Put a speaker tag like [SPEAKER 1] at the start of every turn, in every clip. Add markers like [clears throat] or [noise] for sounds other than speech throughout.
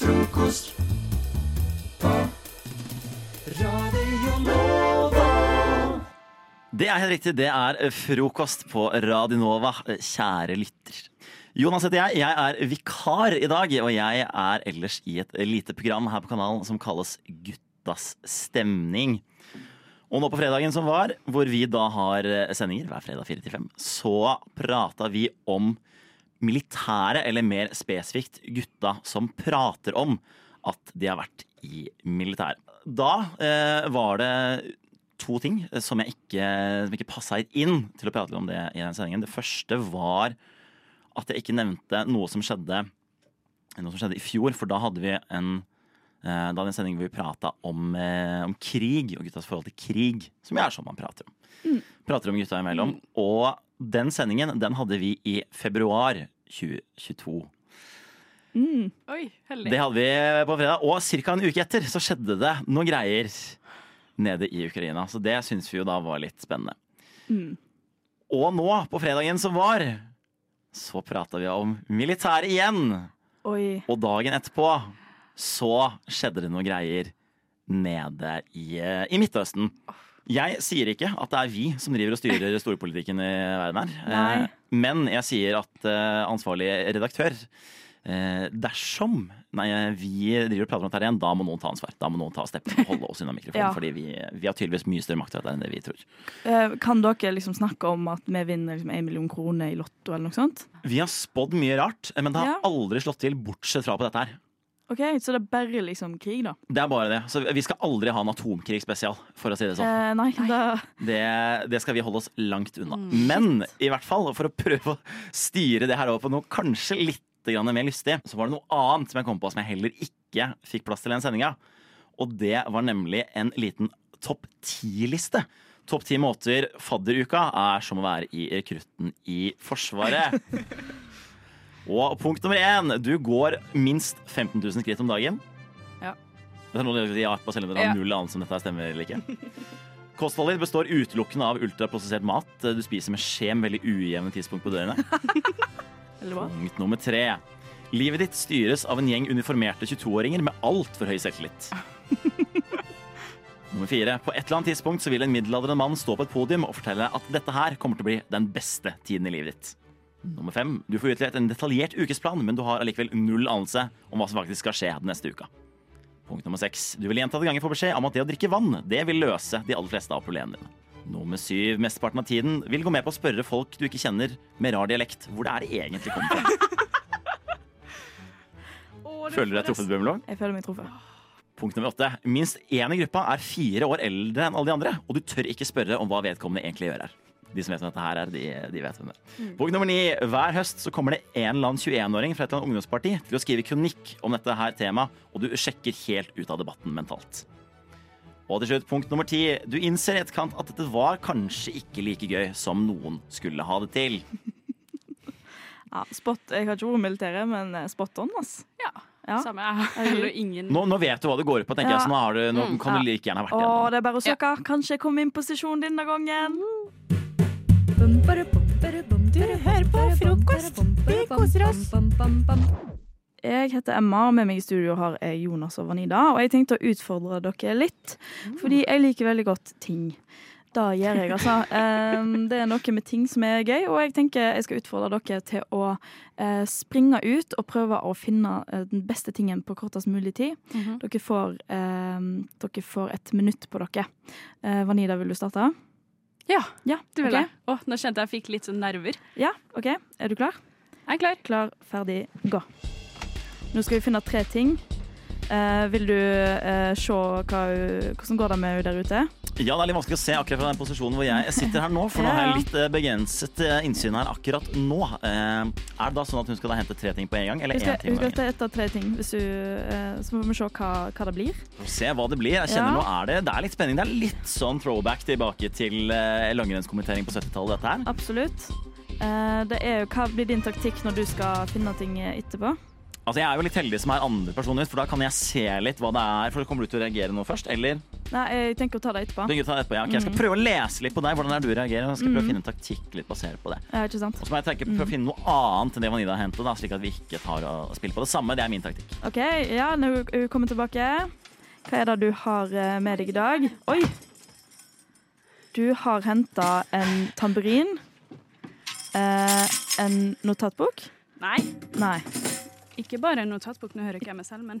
[SPEAKER 1] frokost på Radio Nova.
[SPEAKER 2] Det er helt riktig. Det er eh, frokost på Radionova, kjære lytter. Jonas heter jeg. Jeg er vikar i dag, og jeg er ellers i et lite program her på kanalen som kalles Guttas stemning. Og nå på fredagen som var, hvor vi da har eh, sendinger hver fredag 4 til 5, så prata vi om militære, eller mer spesifikt gutta som prater om at de har vært i militæret. Da eh, var det to ting eh, som jeg ikke, som ikke passa inn til å prate om det i den sendingen. Det første var at jeg ikke nevnte noe som skjedde, noe som skjedde i fjor, for da hadde vi en eh, da hadde vi en sending hvor vi prata om, eh, om krig og guttas forhold til krig, som jo er sånn man prater om. Prater om gutta imellom. Og den sendingen den hadde vi i februar 2022.
[SPEAKER 3] Oi, heldig.
[SPEAKER 2] Det hadde vi eh, på fredag. Og ca. en uke etter så skjedde det noen greier nede i Ukraina. Så det syns vi jo da var litt spennende. Og nå, på fredagen som var, så prata vi om militæret igjen.
[SPEAKER 3] Oi.
[SPEAKER 2] Og dagen etterpå så skjedde det noen greier nede i, eh, i Midtøsten. Jeg sier ikke at det er vi som driver og
[SPEAKER 3] [laughs]
[SPEAKER 2] styrer storpolitikken i verden her.
[SPEAKER 3] Nei.
[SPEAKER 2] Eh, Men jeg sier at eh, ansvarlig redaktør eh, Dersom nei, eh, vi driver og prater om dette her igjen, da må noen ta ansvar. Da må noen ta steppen og holde oss unna mikrofonen.
[SPEAKER 3] [laughs] Ja.
[SPEAKER 2] Fordi vi, vi har tydeligvis mye større makt til dette enn det vi tror.
[SPEAKER 4] Eh, Kan dere liksom snakke om at vi vinner liksom en million kroner i lotto eller noe sånt?
[SPEAKER 2] Vi har spådd mye rart, eh, men det har
[SPEAKER 4] Ja.
[SPEAKER 2] aldri slått til, bortsett fra på dette her.
[SPEAKER 4] Ok, Så det er bare liksom krig, da?
[SPEAKER 2] Det er bare det. Så vi skal aldri ha en atomkrig spesial, for å si det sånn.
[SPEAKER 4] Eh, nei, da
[SPEAKER 2] Det, det skal vi holde oss langt unna.
[SPEAKER 3] Mm.
[SPEAKER 2] Men i hvert fall, for å prøve å styre det her over på noe kanskje litt grann mer lystig, så var det noe annet som jeg kom på som jeg heller ikke fikk plass til i den sendinga. Og det var nemlig en liten topp ti-liste. Topp ti måter fadderuka er som å være i rekrutten i
[SPEAKER 3] [laughs]
[SPEAKER 2] Forsvaret. Og punkt nummer én du går minst 15 000 skritt om dagen.
[SPEAKER 3] Ja.
[SPEAKER 2] Det er noe du gjør på selv om dere har
[SPEAKER 3] Ja.
[SPEAKER 2] null anelse om dette stemmer eller ikke. Kostholdet ditt består utelukkende av ultraprosessert mat. Du spiser med skje med veldig ujevne tidspunkt på døgnet.
[SPEAKER 4] Eller hva?
[SPEAKER 2] Punkt nummer tre. Livet ditt styres av en gjeng uniformerte 22-åringer med altfor høy selvtillit. Nummer fire. På et eller annet tidspunkt så vil en middelaldrende mann stå på et podium og fortelle at dette her kommer til å bli den beste tiden i livet ditt. Nummer fem. Du får utlevert en detaljert ukesplan, men du har allikevel null anelse om hva som faktisk skal skje den neste uka. Punkt nummer seks. Du vil gjentatte ganger få beskjed om at det å drikke vann, det vil løse de aller fleste av problemene dine. Nummer syv. Mesteparten av tiden vil gå med på å spørre folk du ikke kjenner med rar dialekt, hvor det er det egentlig kommer fra. Føler du deg truffet, Bømlo?
[SPEAKER 4] Jeg føler meg truffet.
[SPEAKER 2] Punkt nummer åtte. Minst én i gruppa er fire år eldre enn alle de andre, og du tør ikke spørre om hva vedkommende egentlig gjør her. De som vet hvem dette her er, de, de vet hvem det er.
[SPEAKER 4] Mm.
[SPEAKER 2] Punkt nummer ni. Hver høst så kommer det en eller annen 21-åring fra et eller annet ungdomsparti til å skrive kronikk om dette her temaet, og du sjekker helt ut av debatten mentalt. Og til slutt, punkt nummer ti. Du innser i etterkant at dette var kanskje ikke like gøy som noen skulle ha det til.
[SPEAKER 4] Ja, spot, jeg har ikke vært i militæret, men eh, spot on, ass.
[SPEAKER 3] Ja,
[SPEAKER 4] Ja.
[SPEAKER 3] samme. Jeg har heller ingen
[SPEAKER 2] Nå, nå vet du hva det går ut på, tenker
[SPEAKER 4] Ja. Mm,
[SPEAKER 2] jeg, så nå, har du, nå kan
[SPEAKER 4] Ja.
[SPEAKER 2] du like gjerne ha vært
[SPEAKER 4] Å,
[SPEAKER 2] igjennom.
[SPEAKER 4] det er bare å søke. Kanskje jeg kommer inn på stasjonen denne gangen.
[SPEAKER 5] Du hører på frokost. Vi koser oss.
[SPEAKER 4] Jeg heter Emma, og med meg i studio har jeg Jonas og Vanida. Og jeg tenkte å utfordre dere litt,
[SPEAKER 3] Mm.
[SPEAKER 4] fordi jeg liker veldig godt ting. Det gjør jeg, altså.
[SPEAKER 3] [laughs]
[SPEAKER 4] Em, Det er noe med ting som er gøy, og jeg tenker jeg skal utfordre dere til å eh, springe ut og prøve å finne eh, den beste tingen på kortest mulig tid.
[SPEAKER 3] Mhm.
[SPEAKER 4] Dere får, em, dere får et minutt på dere. Eh, Vanida, vil du starte?
[SPEAKER 3] Ja,
[SPEAKER 4] Ja,
[SPEAKER 3] du vil
[SPEAKER 4] ok.
[SPEAKER 3] det. Å, nå kjente jeg jeg fikk litt sånn nerver.
[SPEAKER 4] Ja, OK. Er du klar?
[SPEAKER 3] Jeg er klar.
[SPEAKER 4] Klar, ferdig, gå. Nå skal vi finne tre ting. Eh, vil du eh, se hva, hun- hvordan går det med henne der ute?
[SPEAKER 2] Ja, det er litt vanskelig å se akkurat fra den posisjonen hvor jeg sitter her nå, for nå
[SPEAKER 4] Ja, ja.
[SPEAKER 2] har jeg litt eh, begrenset eh, innsyn her akkurat nå. Eh, Er det da sånn at hun skal da hente tre ting på en gang, eller
[SPEAKER 4] Husk
[SPEAKER 2] én
[SPEAKER 4] at
[SPEAKER 2] ting
[SPEAKER 4] husk
[SPEAKER 2] på en gang?
[SPEAKER 4] at det er ett av tre ting. Hvis du, eh, så må vi se hva, hva det blir.
[SPEAKER 2] Se hva det blir. Jeg kjenner
[SPEAKER 4] Ja.
[SPEAKER 2] nå er det, det er litt spenning. Det er litt sånn throwback tilbake til eh, langrennskommentering på 70-tallet, dette her.
[SPEAKER 4] Absolutt. Eh, det er jo, hva blir din taktikk når du skal finne ting etterpå?
[SPEAKER 2] Altså, jeg er jo litt heldig som er andre personer, for da kan jeg se litt hva det er. For kommer du til å reagere nå først, eller?
[SPEAKER 4] Nei, jeg tenker å ta det etterpå.
[SPEAKER 2] Du kan ta det etterpå, ja. Ok, jeg
[SPEAKER 4] Mm.
[SPEAKER 2] skal prøve å lese litt på deg, hvordan det er du reagerer, og jeg skal prøve å finne en taktikk litt basert på det.
[SPEAKER 4] Ja, ikke sant?
[SPEAKER 2] Og så må jeg tenke på å
[SPEAKER 4] Mm.
[SPEAKER 2] finne noe annet enn det Vanida har hentet, da, slik at vi ikke tar og spiller på det samme. Det er min taktikk.
[SPEAKER 4] OK, ja, når hun- hun kommer tilbake. Hva er det du har eh, med deg i dag? Oi! Du har henta en tamburin. Eh, en notatbok?
[SPEAKER 3] Nei,
[SPEAKER 4] Nei.
[SPEAKER 3] ikke bare en notatbok. Nå hører ikke jeg meg selv, men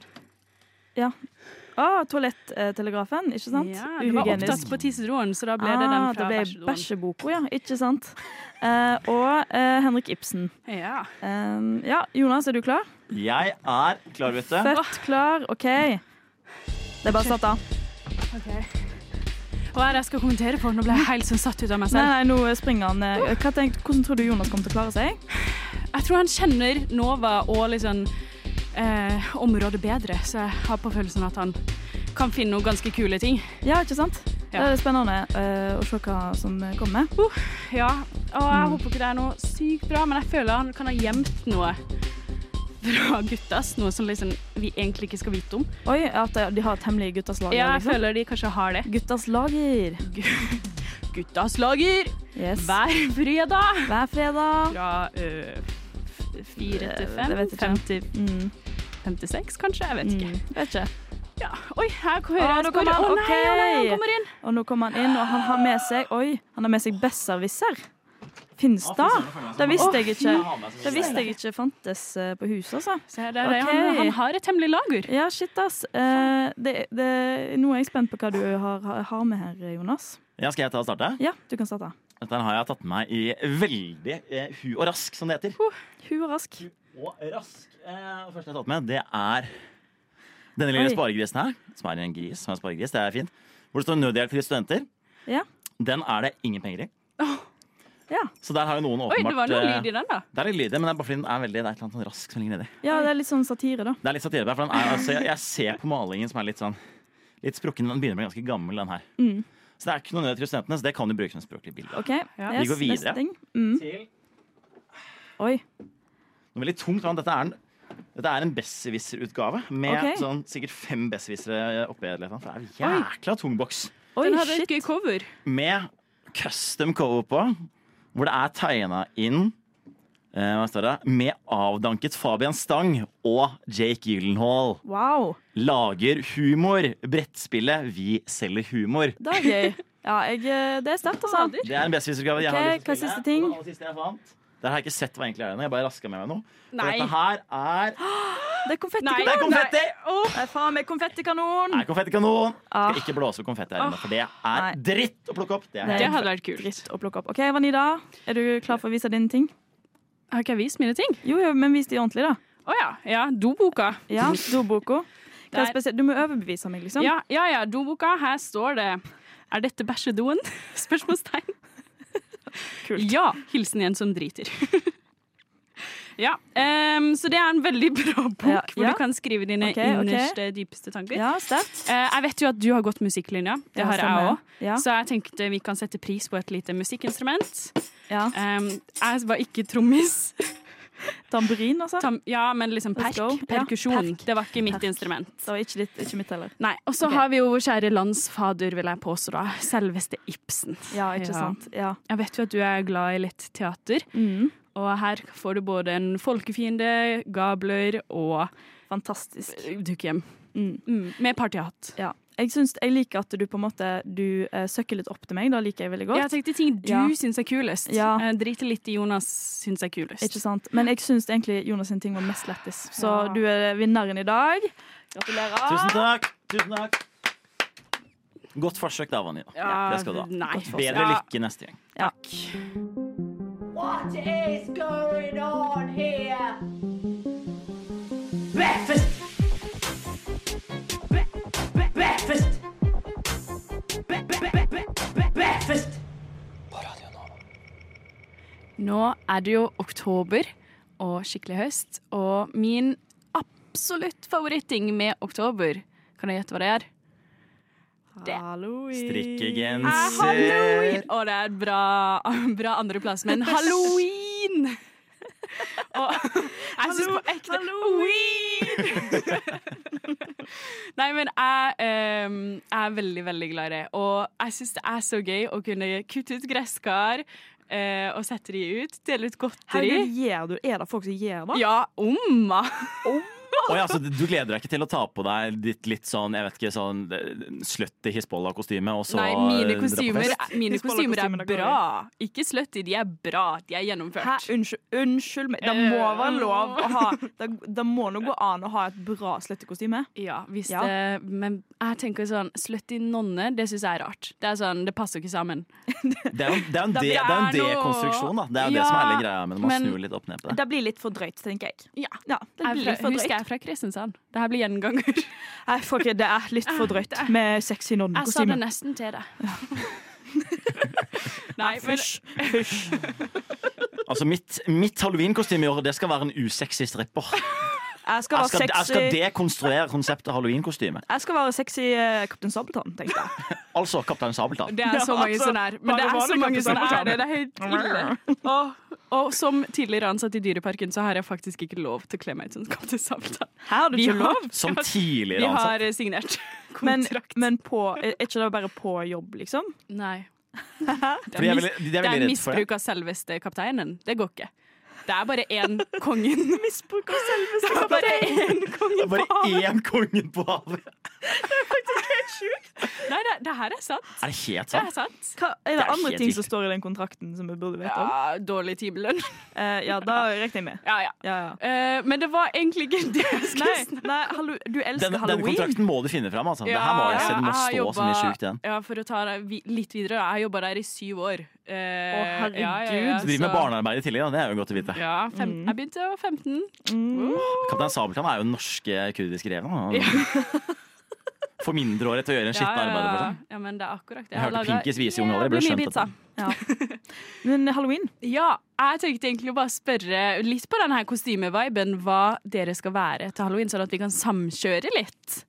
[SPEAKER 4] Å, toalettelegrafen, ikke sant?
[SPEAKER 3] Ja, det var opptatt på tisseroen, så da ble det den
[SPEAKER 4] Ah,
[SPEAKER 3] fra
[SPEAKER 4] det
[SPEAKER 3] bæsjedoen.
[SPEAKER 4] ble bæsjeboka, ja. Ikke sant. Eh, og eh, Henrik Ibsen.
[SPEAKER 3] Ja.
[SPEAKER 4] Eh, ja, Jonas, er du klar?
[SPEAKER 2] Jeg er klar, vet du.
[SPEAKER 4] Født, klar, OK. Det er bare å starte.
[SPEAKER 3] Hva er det jeg skal kommentere på? Nå ble jeg helt sånn satt ut av meg
[SPEAKER 4] Nei,
[SPEAKER 3] selv.
[SPEAKER 4] nei, nå springer han. eh, Hva tenk, hvordan tror du Jonas kommer til å klare seg?
[SPEAKER 3] Jeg tror han kjenner Nova og liksom eh, området bedre, så jeg har på følelsen at han kan finne noen ganske kule ting.
[SPEAKER 4] Ja, ikke sant?
[SPEAKER 3] Ja.
[SPEAKER 4] Det er spennende eh, å se hva som kommer.
[SPEAKER 3] Ja, og jeg
[SPEAKER 4] Mm.
[SPEAKER 3] håper ikke det er noe sykt bra, men jeg føler han kan ha gjemt noe fra guttas, noe som liksom vi egentlig ikke skal vite om.
[SPEAKER 4] Oi, at eh, de har et hemmelig guttaslag.
[SPEAKER 3] Ja, jeg
[SPEAKER 4] liksom.
[SPEAKER 3] føler de kanskje har det.
[SPEAKER 4] Guttas lager.
[SPEAKER 3] Guttas lager
[SPEAKER 4] Yes. Hver,
[SPEAKER 3] hver fredag
[SPEAKER 4] fredag.
[SPEAKER 3] fra eh, f- fire til
[SPEAKER 4] Eh, Det
[SPEAKER 3] fem,
[SPEAKER 4] vet jeg ikke.
[SPEAKER 3] fem til
[SPEAKER 4] Mm.
[SPEAKER 3] fem til seks kanskje, jeg vet ikke.
[SPEAKER 4] Mm. Vet ikke.
[SPEAKER 3] Ja. Oi, her hører jeg
[SPEAKER 4] Å, nå
[SPEAKER 3] skoene.
[SPEAKER 4] kommer han.
[SPEAKER 3] Å nei, å nei,
[SPEAKER 4] Ok.
[SPEAKER 3] han kommer inn.
[SPEAKER 4] Og nå kommer han inn, og han har med seg Oi, han har med seg besserwisser. Fins
[SPEAKER 2] Å, fy
[SPEAKER 4] det?
[SPEAKER 2] søren, nå føler jeg meg som
[SPEAKER 4] Det
[SPEAKER 2] han.
[SPEAKER 4] visste jeg ikke.
[SPEAKER 2] Jeg har med meg
[SPEAKER 4] Det
[SPEAKER 2] sånn-
[SPEAKER 4] visste jeg ikke fantes eh, på huset, altså.
[SPEAKER 3] Se der, der,
[SPEAKER 4] Ok.
[SPEAKER 3] han, han har et hemmelig lager.
[SPEAKER 4] Ja, shit, ass. Eh, det, det, nå er jeg spent på hva du har, har med her, Jonas.
[SPEAKER 2] Ja, skal jeg ta og starte?
[SPEAKER 4] Ja, du kan starte.
[SPEAKER 2] Dette her har jeg tatt med meg i veldig eh, hu og rask, som det heter.
[SPEAKER 4] Hun er rask.
[SPEAKER 2] Og rask. Eh, og første jeg har tatt med, det er denne lille
[SPEAKER 4] Oi.
[SPEAKER 2] sparegrisen her. Som er en gris som er en sparegris. Det er fint. Hvor det står 'nødhjelp til studenter'.
[SPEAKER 4] Ja.
[SPEAKER 2] Den er det ingen penger i.
[SPEAKER 4] Ja.
[SPEAKER 2] Så der har jo noen
[SPEAKER 3] Oi,
[SPEAKER 2] åpenbart
[SPEAKER 3] det var noe
[SPEAKER 2] eh,
[SPEAKER 3] lyd i den da.
[SPEAKER 2] Det er litt lyd i den, men det er bare fordi den er veldig, det er et eller annet sånn rask som ligger nedi.
[SPEAKER 4] ja, det er litt sånn satire, da.
[SPEAKER 2] Det er litt satire på det, for den er, altså, jeg, jeg ser på malingen som er litt sånn Litt sprukken. Den begynner å bli ganske gammel, den her.
[SPEAKER 4] Mm.
[SPEAKER 2] Så det er ikke noe nød til studentene, så altså, det kan du bruke som språklig bilde.
[SPEAKER 4] OK,
[SPEAKER 3] Ja.
[SPEAKER 2] Vi går videre.
[SPEAKER 4] neste ting. Mm.
[SPEAKER 2] Til
[SPEAKER 4] Oi.
[SPEAKER 2] noe veldig tungt. men Dette er en, dette er en besserwisser-utgave med
[SPEAKER 4] Ok.
[SPEAKER 2] sånn, sikkert fem besserwissere oppi. eller noe sånt, For det er en jækla tung boks
[SPEAKER 4] Oi,
[SPEAKER 3] Den hadde et
[SPEAKER 4] shit.
[SPEAKER 3] gøy cover.
[SPEAKER 2] med custom cover på, hvor det er tegna inn eh, hva står det? Med avdanket Fabian Stang og Jake Gyllenhaal.
[SPEAKER 4] Wow.
[SPEAKER 2] Lager humor. Brettspillet Vi selger humor.
[SPEAKER 4] Det er
[SPEAKER 3] [laughs]
[SPEAKER 4] gøy. Ja, jeg, eh, det er sterkt, altså.
[SPEAKER 2] Det er en besserwisser-utgave. jeg
[SPEAKER 4] Ok,
[SPEAKER 2] har lyst til å
[SPEAKER 4] hva er
[SPEAKER 2] spille,
[SPEAKER 4] siste ting?
[SPEAKER 2] og det aller siste jeg fant. Der har jeg ikke sett hva egentlig er ennå. Jeg bare raska med meg noe. For
[SPEAKER 3] Nei.
[SPEAKER 2] dette her
[SPEAKER 4] [gasps]
[SPEAKER 2] er
[SPEAKER 4] Det er konfetti.
[SPEAKER 3] Nei.
[SPEAKER 2] Det er konfetti!
[SPEAKER 4] Nei, faen meg konfettikanon!
[SPEAKER 2] Nei, konfettikanon.
[SPEAKER 4] Ah.
[SPEAKER 2] Skal ikke blåse opp konfetti her inne, for det er
[SPEAKER 4] Nei.
[SPEAKER 2] dritt å plukke opp. Det er
[SPEAKER 4] Nei.
[SPEAKER 3] Det
[SPEAKER 2] helt
[SPEAKER 3] hadde vært kult.
[SPEAKER 4] Dritt å plukke opp. OK, Vanida, er du klar for å vise dine ting?
[SPEAKER 3] Har ikke jeg vist mine ting?
[SPEAKER 4] Jo, jo, men vis de ordentlig, da.
[SPEAKER 3] Å ja. ja doboka.
[SPEAKER 4] Ja, Doboka. Hva er
[SPEAKER 3] Der.
[SPEAKER 4] spesielt? Du må overbevise meg, liksom.
[SPEAKER 3] Ja, ja, ja, doboka. Her står det Er dette bæsjedoen? [laughs] Spørsmålstegn.
[SPEAKER 4] Kult.
[SPEAKER 3] Ja. Hilsen en som driter. [laughs] Ja, em, så det er en veldig bra bok
[SPEAKER 4] Ja,
[SPEAKER 3] hvor
[SPEAKER 4] ja.
[SPEAKER 3] du kan skrive dine
[SPEAKER 4] Ok, ok.
[SPEAKER 3] innerste, dypeste tanker.
[SPEAKER 4] Ja, sterkt.
[SPEAKER 3] Eh, jeg vet jo at du har gått musikklinja. Det
[SPEAKER 4] Ja,
[SPEAKER 3] har jeg
[SPEAKER 4] stemmer.
[SPEAKER 3] òg.
[SPEAKER 4] Ja.
[SPEAKER 3] Så jeg tenkte vi kan sette pris på et lite musikkinstrument.
[SPEAKER 4] ja.
[SPEAKER 3] Em, jeg var ikke trommis.
[SPEAKER 4] Tamburin, altså.
[SPEAKER 3] Tam, ja, men liksom perk.
[SPEAKER 4] Let's go. Ja,
[SPEAKER 3] Perkusjon.
[SPEAKER 4] perk.
[SPEAKER 3] Det var ikke mitt
[SPEAKER 4] Perk.
[SPEAKER 3] instrument.
[SPEAKER 4] Det var ikke, ditt, ikke mitt heller.
[SPEAKER 3] Nei, Og så
[SPEAKER 4] Ok.
[SPEAKER 3] har vi jo vår kjære landsfader, vil jeg påstå, da. Selveste Ibsen.
[SPEAKER 4] Ja,
[SPEAKER 3] Ja.
[SPEAKER 4] ikke sant. Ja.
[SPEAKER 3] Jeg vet jo at du er glad i litt teater,
[SPEAKER 4] Mm.
[SPEAKER 3] og her får du både en folkefiende, gabler og
[SPEAKER 4] Fantastisk.
[SPEAKER 3] dukkehjem.
[SPEAKER 4] Mm.
[SPEAKER 3] Mm, med partyhatt.
[SPEAKER 4] Ja. Jeg, syns, jeg liker at du på en måte Du eh, søkker litt opp til meg. Det liker jeg veldig godt.
[SPEAKER 3] Jeg tenkte ting du
[SPEAKER 4] Ja.
[SPEAKER 3] syns er kulest.
[SPEAKER 4] Ja.
[SPEAKER 3] Eh, Drite litt i Jonas syns er kulest.
[SPEAKER 4] Ikke sant? Men jeg syns egentlig Jonas sin ting var mest lættis. Så
[SPEAKER 3] Ja.
[SPEAKER 4] du er vinneren i dag. Gratulerer.
[SPEAKER 2] Tusen takk. Tusen takk. Godt forsøk, da, Vanina.
[SPEAKER 3] Ja,
[SPEAKER 2] Det skal du ha.
[SPEAKER 3] Nei.
[SPEAKER 2] Bedre
[SPEAKER 3] Ja.
[SPEAKER 2] lykke neste gang.
[SPEAKER 6] What is going on here? Breakfast. Bre- bre- Breakfast. Bre- bre- bre- bre- Breakfast.
[SPEAKER 3] Nå er det jo oktober og skikkelig høst, og min absolutt favoritting med oktober, kan jeg gjette hva det er?
[SPEAKER 4] Halloween. Eh,
[SPEAKER 3] er
[SPEAKER 2] Strikkegenser.
[SPEAKER 3] halloween! Og det er et bra, [laughs] bra andreplass, men halloween! Og jeg syns på ekte Halloween! [laughs] Nei, men jeg ehm, er veldig, veldig glad i det. Og jeg syns det er så gøy å kunne kutte ut gresskar eh, og sette de ut. Dele ut godteri.
[SPEAKER 4] Herregud, gjør du? Er det folk som gjør det?
[SPEAKER 3] Ja, omma!
[SPEAKER 2] Oi, altså, du gleder deg ikke til å ta på deg ditt litt sånn jeg vet ikke, sånn eh, slutty Hizbollah-kostyme? og så,
[SPEAKER 3] Nei,
[SPEAKER 2] eh,
[SPEAKER 3] mine
[SPEAKER 2] dra på
[SPEAKER 3] kostymer,
[SPEAKER 2] fest?
[SPEAKER 3] mine
[SPEAKER 4] Hvis alle
[SPEAKER 3] kostymer er
[SPEAKER 4] kostymene går i.
[SPEAKER 3] bra. Ikke slutty, de er bra. De er gjennomført.
[SPEAKER 4] Hæ? Unnskyld, unnskyld meg. Det må være
[SPEAKER 3] Eh.
[SPEAKER 4] lov å ha Det, det må nå gå an å ha et bra slettekostyme.
[SPEAKER 3] Ja, hvis
[SPEAKER 4] Ja.
[SPEAKER 3] det Men jeg tenker sånn Slutty nonne, det syns jeg er rart. Det er sånn, det passer ikke sammen.
[SPEAKER 2] Det er jo det er jo en,
[SPEAKER 3] Da
[SPEAKER 2] de,
[SPEAKER 3] blir
[SPEAKER 2] det er jo en
[SPEAKER 3] det noe-
[SPEAKER 2] dekonstruksjon, da. Det er jo det
[SPEAKER 3] Ja,
[SPEAKER 2] som er hele greia, men man
[SPEAKER 3] men-
[SPEAKER 2] snur litt opp ned på det.
[SPEAKER 4] Det blir litt for drøyt, tenker jeg.
[SPEAKER 3] Ja.
[SPEAKER 4] Ja, det
[SPEAKER 3] Jeg er
[SPEAKER 4] blir litt
[SPEAKER 3] fra,
[SPEAKER 4] for
[SPEAKER 3] husker
[SPEAKER 4] drøyt.
[SPEAKER 3] jeg er fra Kristiansand. Det her blir
[SPEAKER 4] [laughs]
[SPEAKER 3] gjenganger.
[SPEAKER 4] Nei, fuck it, det er litt
[SPEAKER 3] [laughs]
[SPEAKER 4] for drøyt med sexy
[SPEAKER 3] Jeg sa det
[SPEAKER 4] nonnekostyme.
[SPEAKER 3] nesten til
[SPEAKER 4] [laughs]
[SPEAKER 3] deg. Nei, men
[SPEAKER 4] Hysj. Hysj.
[SPEAKER 2] Altså, mitt, mitt halloweenkostyme i år, det skal være en usexy
[SPEAKER 3] [laughs]
[SPEAKER 2] stripper.
[SPEAKER 4] Jeg
[SPEAKER 2] Jeg
[SPEAKER 4] skal være
[SPEAKER 2] skal, jeg skal
[SPEAKER 4] sexy,
[SPEAKER 2] dekonstruere konseptet halloweenkostyme.
[SPEAKER 4] jeg skal være sexy eh, Kaptein Sabeltann, tenkte jeg.
[SPEAKER 2] Altså Kaptein Sabeltann.
[SPEAKER 3] det er så mange
[SPEAKER 4] altså,
[SPEAKER 3] sånne her. Men
[SPEAKER 4] bare
[SPEAKER 3] det er så
[SPEAKER 4] vanlig
[SPEAKER 3] mange sånne her.
[SPEAKER 4] kapital.
[SPEAKER 3] Det er helt ille. Og, og som tidligere ansatt i Dyreparken, så har jeg faktisk ikke lov til å kle meg ut som Kaptein Sabeltann.
[SPEAKER 4] Her har du
[SPEAKER 3] Vi
[SPEAKER 4] ikke
[SPEAKER 3] har-
[SPEAKER 4] lov.
[SPEAKER 3] [laughs]
[SPEAKER 2] Som
[SPEAKER 3] Vi
[SPEAKER 2] tidligere ansatt.
[SPEAKER 3] har eh, signert
[SPEAKER 4] Men,
[SPEAKER 3] kontrakt.
[SPEAKER 4] men på, er ikke det bare på jobb, liksom? [laughs]
[SPEAKER 3] Nei. Det er,
[SPEAKER 2] Fordi jeg er
[SPEAKER 3] mis
[SPEAKER 2] veldig- de er
[SPEAKER 3] det er
[SPEAKER 2] veldig redd for det.
[SPEAKER 3] misbruk av selveste kapteinen. Det går ikke. Det er bare
[SPEAKER 4] [laughs]
[SPEAKER 3] én kongen.
[SPEAKER 4] Misbruk av
[SPEAKER 3] [laughs]
[SPEAKER 4] selveste
[SPEAKER 3] Det er bare én kongen
[SPEAKER 2] Bare
[SPEAKER 3] [laughs] på havet.
[SPEAKER 2] én konge på havet!
[SPEAKER 3] Nei, det, det her er sant.
[SPEAKER 2] Er det helt
[SPEAKER 3] Det er
[SPEAKER 2] sant?
[SPEAKER 3] sant.
[SPEAKER 4] Hva, er det
[SPEAKER 2] er
[SPEAKER 4] andre
[SPEAKER 2] helt
[SPEAKER 4] ting
[SPEAKER 2] vilt.
[SPEAKER 4] som står i den kontrakten som vi burde vite om?
[SPEAKER 3] Ja, dårlig timelønn.
[SPEAKER 4] Eh, ja, da regner jeg med.
[SPEAKER 3] [laughs] Ja, ja.
[SPEAKER 4] Ja, ja.
[SPEAKER 3] Eh, men det var egentlig ikke det jeg skulle
[SPEAKER 4] Nei, nei hallo, du elsker
[SPEAKER 2] Denne, denne
[SPEAKER 4] halloween.
[SPEAKER 2] kontrakten må du finne fram. Altså. det her må jeg se. Det må
[SPEAKER 3] har
[SPEAKER 2] stå så mye
[SPEAKER 3] jobbet-
[SPEAKER 2] sjukt i den.
[SPEAKER 3] Ja, for å ta det vi- litt videre, da. jeg har jobba der i syv år. Eh,
[SPEAKER 4] herregud. Mm.
[SPEAKER 2] Du driver med
[SPEAKER 3] så-
[SPEAKER 2] barnearbeid i tillegg, da. det er jo godt å vite.
[SPEAKER 3] Ja, fem, jeg begynte da jeg var 15.
[SPEAKER 2] Kaptein Sabeltann er jo den norske kurdiske reven. da. For mindreårige til å gjøre en skitten arbeid for seg.
[SPEAKER 3] Ja, men det er akkurat det.
[SPEAKER 2] Jeg hørte
[SPEAKER 3] laget
[SPEAKER 2] Pinkes vise unge allerede, ble
[SPEAKER 3] jævlig mye
[SPEAKER 2] skjønt at-
[SPEAKER 3] pizza.
[SPEAKER 4] Men halloween
[SPEAKER 3] Ja, jeg tenkte egentlig å bare spørre litt på denne kostymeviben hva dere skal være til halloween, sånn at vi kan samkjøre litt.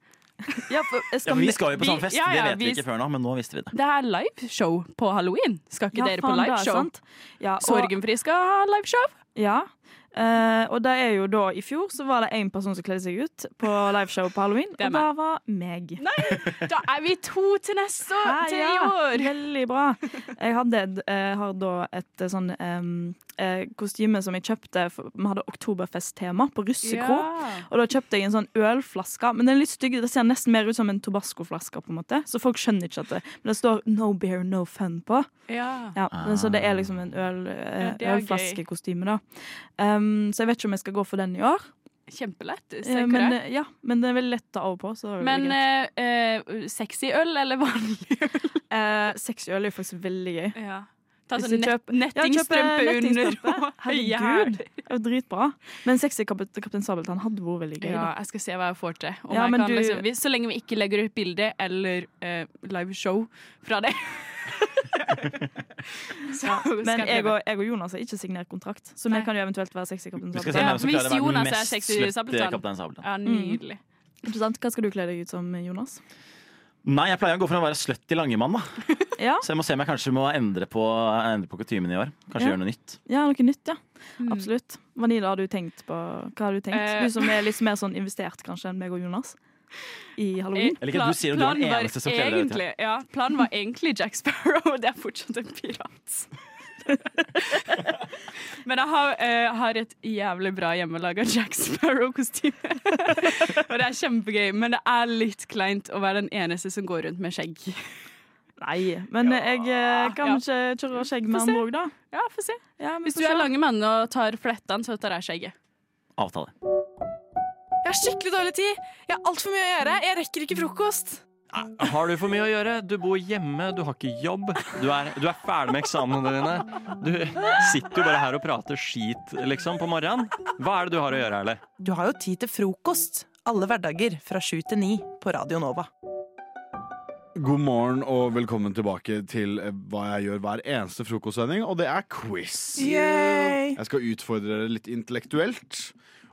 [SPEAKER 4] ja, for, eh,
[SPEAKER 2] Ja,
[SPEAKER 4] skal
[SPEAKER 2] for vi skal jo på
[SPEAKER 3] vi-
[SPEAKER 2] samme fest,
[SPEAKER 3] ja, ja,
[SPEAKER 2] det vet vi
[SPEAKER 3] vi-
[SPEAKER 2] ikke før nå, men nå visste vi det.
[SPEAKER 3] Det er liveshow på halloween. Skal ikke
[SPEAKER 4] Ja,
[SPEAKER 3] dere
[SPEAKER 4] faen,
[SPEAKER 3] på
[SPEAKER 4] det er
[SPEAKER 3] liveshow?
[SPEAKER 4] sant. Ja, og,
[SPEAKER 3] Sorgenfri skal ha liveshow.
[SPEAKER 4] Ja. Eh, og det er jo da i fjor så var det én person som kledde seg ut på liveshow på halloween,
[SPEAKER 3] Det er
[SPEAKER 4] og det var meg.
[SPEAKER 3] Da er vi to til neste år,
[SPEAKER 4] Hæ,
[SPEAKER 3] til i
[SPEAKER 4] ja.
[SPEAKER 3] år.
[SPEAKER 4] Veldig bra. Jeg hadde, et- eh, har da et eh, sånn em, eh, kostyme som jeg kjøpte for- Vi hadde oktoberfesttema på russekro. Og da kjøpte jeg en sånn ølflaske, men den er litt stygg. Det ser nesten mer ut som en Tobasco-flaske, på en måte. Så folk skjønner ikke at det Men det står 'No beer, no fun' på.
[SPEAKER 3] Ja.
[SPEAKER 4] Ja, men Så det er liksom en øl, eh,
[SPEAKER 3] Ja, det er gøy.
[SPEAKER 4] ølflaskekostyme, da. Um, så jeg vet ikke om jeg skal gå for den i år.
[SPEAKER 3] Kjempelett.
[SPEAKER 4] Eh,
[SPEAKER 3] Ser ikke
[SPEAKER 4] Men,
[SPEAKER 3] det?
[SPEAKER 4] eh, ja, men det er veldig lett å ta over på. Så det er
[SPEAKER 3] Men
[SPEAKER 4] veldig greit.
[SPEAKER 3] eh, eh, sexy øl eller vanlig øl?
[SPEAKER 4] eh, sexy øl er jo faktisk veldig gøy.
[SPEAKER 3] Ja. Ta
[SPEAKER 4] Hvis
[SPEAKER 3] sånn
[SPEAKER 4] jeg
[SPEAKER 3] net
[SPEAKER 4] kjøper-
[SPEAKER 3] nettingstrømpe
[SPEAKER 4] Ja, kjøper
[SPEAKER 3] under.
[SPEAKER 4] nettingstrømpe.
[SPEAKER 3] og høye hæler.
[SPEAKER 4] [laughs] Herregud, det er jo dritbra. Men sexy Kap- Kaptein Sabeltann hadde vært veldig gøy.
[SPEAKER 3] Ja,
[SPEAKER 4] Da.
[SPEAKER 3] jeg skal se hva jeg får til. Om
[SPEAKER 4] Ja,
[SPEAKER 3] jeg
[SPEAKER 4] men
[SPEAKER 3] kan,
[SPEAKER 4] du-
[SPEAKER 3] liksom, hvis, så lenge vi ikke legger ut bilde eller eh, liveshow fra det. [laughs] så skal
[SPEAKER 4] Men jeg
[SPEAKER 3] prøve.
[SPEAKER 4] og, jeg og Jonas har ikke signert kontrakt, så
[SPEAKER 3] Nei.
[SPEAKER 4] vi kan jo eventuelt være sexy Kaptein
[SPEAKER 2] Vi skal
[SPEAKER 4] Sabeltann.
[SPEAKER 2] se
[SPEAKER 3] Ja,
[SPEAKER 2] hvem som
[SPEAKER 3] hvis
[SPEAKER 2] klarer å være
[SPEAKER 3] Jonas
[SPEAKER 2] den
[SPEAKER 3] er
[SPEAKER 2] mest
[SPEAKER 3] sexy
[SPEAKER 2] slette
[SPEAKER 3] Sabeltann.
[SPEAKER 2] Kaptein Sabeltann.
[SPEAKER 4] Mm.
[SPEAKER 3] Ja, nydelig.
[SPEAKER 4] Interessant. Hva skal du kle deg ut som, Jonas?
[SPEAKER 2] Nei, jeg pleier å gå for å være slutty langemann, da.
[SPEAKER 4] Ja,
[SPEAKER 2] Så jeg må se om jeg kanskje må endre på, endre på kutymen i år. Kanskje
[SPEAKER 4] Ja.
[SPEAKER 2] gjøre noe nytt.
[SPEAKER 4] ja noe nytt, ja. Absolutt. Vanilla, har du tenkt på Hva har du tenkt?
[SPEAKER 3] Mm. Eh.
[SPEAKER 4] Du som er litt mer sånn investert kanskje enn meg og Jonas i halloween.
[SPEAKER 3] Eh,
[SPEAKER 2] Jeg liker at du sier at du er den eneste som kler deg ut, ja.
[SPEAKER 3] egentlig, ja, Planen var egentlig Jack Sparrow, og det er fortsatt en pirat. [laughs] Men jeg har, eh, har et jævlig bra hjemmelaga Jack Sparrow-kostyme. [laughs] og det er kjempegøy, men det er litt kleint å være den eneste som går rundt med skjegg.
[SPEAKER 4] Nei, men jeg eh,
[SPEAKER 3] Ja.
[SPEAKER 4] kan ikke kjøre skjegg med
[SPEAKER 3] Få se.
[SPEAKER 4] andre òg, da.
[SPEAKER 3] Ja, få se.
[SPEAKER 4] Ja, vi
[SPEAKER 3] Hvis
[SPEAKER 4] får
[SPEAKER 3] du
[SPEAKER 4] se.
[SPEAKER 3] er lange mann og tar flettene, så tar jeg skjegget.
[SPEAKER 2] Avtale.
[SPEAKER 7] Jeg har skikkelig dårlig tid. Jeg har altfor mye å gjøre. Jeg rekker ikke frokost.
[SPEAKER 1] Har du for mye å gjøre? Du bor hjemme, du har ikke jobb. Du er, du er ferdig med eksamene dine. Du sitter jo bare her og prater skit, liksom, på morgenen. Hva er det du har å gjøre, Erle?
[SPEAKER 6] Du har jo tid til frokost. Alle hverdager fra sju til ni på Radio Nova.
[SPEAKER 8] God morgen og velkommen tilbake til eh, hva jeg gjør hver eneste frokostsending, og det er quiz. Jeg skal utfordre dere litt intellektuelt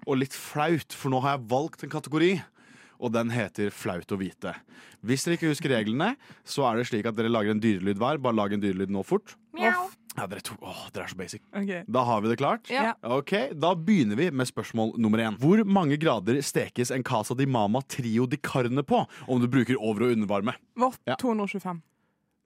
[SPEAKER 8] og litt flaut, for nå har jeg valgt en kategori. Og den heter Flaut å vite. Hvis dere ikke husker reglene, så er det slik at dere lager en dyrelyd hver. Bare lag en dyrelyd nå fort. Ja, dere, to, åh, dere er så basic.
[SPEAKER 9] Ok.
[SPEAKER 8] Da har vi det klart.
[SPEAKER 9] Ja.
[SPEAKER 8] Ok, Da begynner vi med spørsmål nummer én. Hvor mange grader stekes en Casa di Mama Trio di Carne på om du bruker over- og undervarme?
[SPEAKER 10] Vårt
[SPEAKER 8] Ja.
[SPEAKER 10] 225.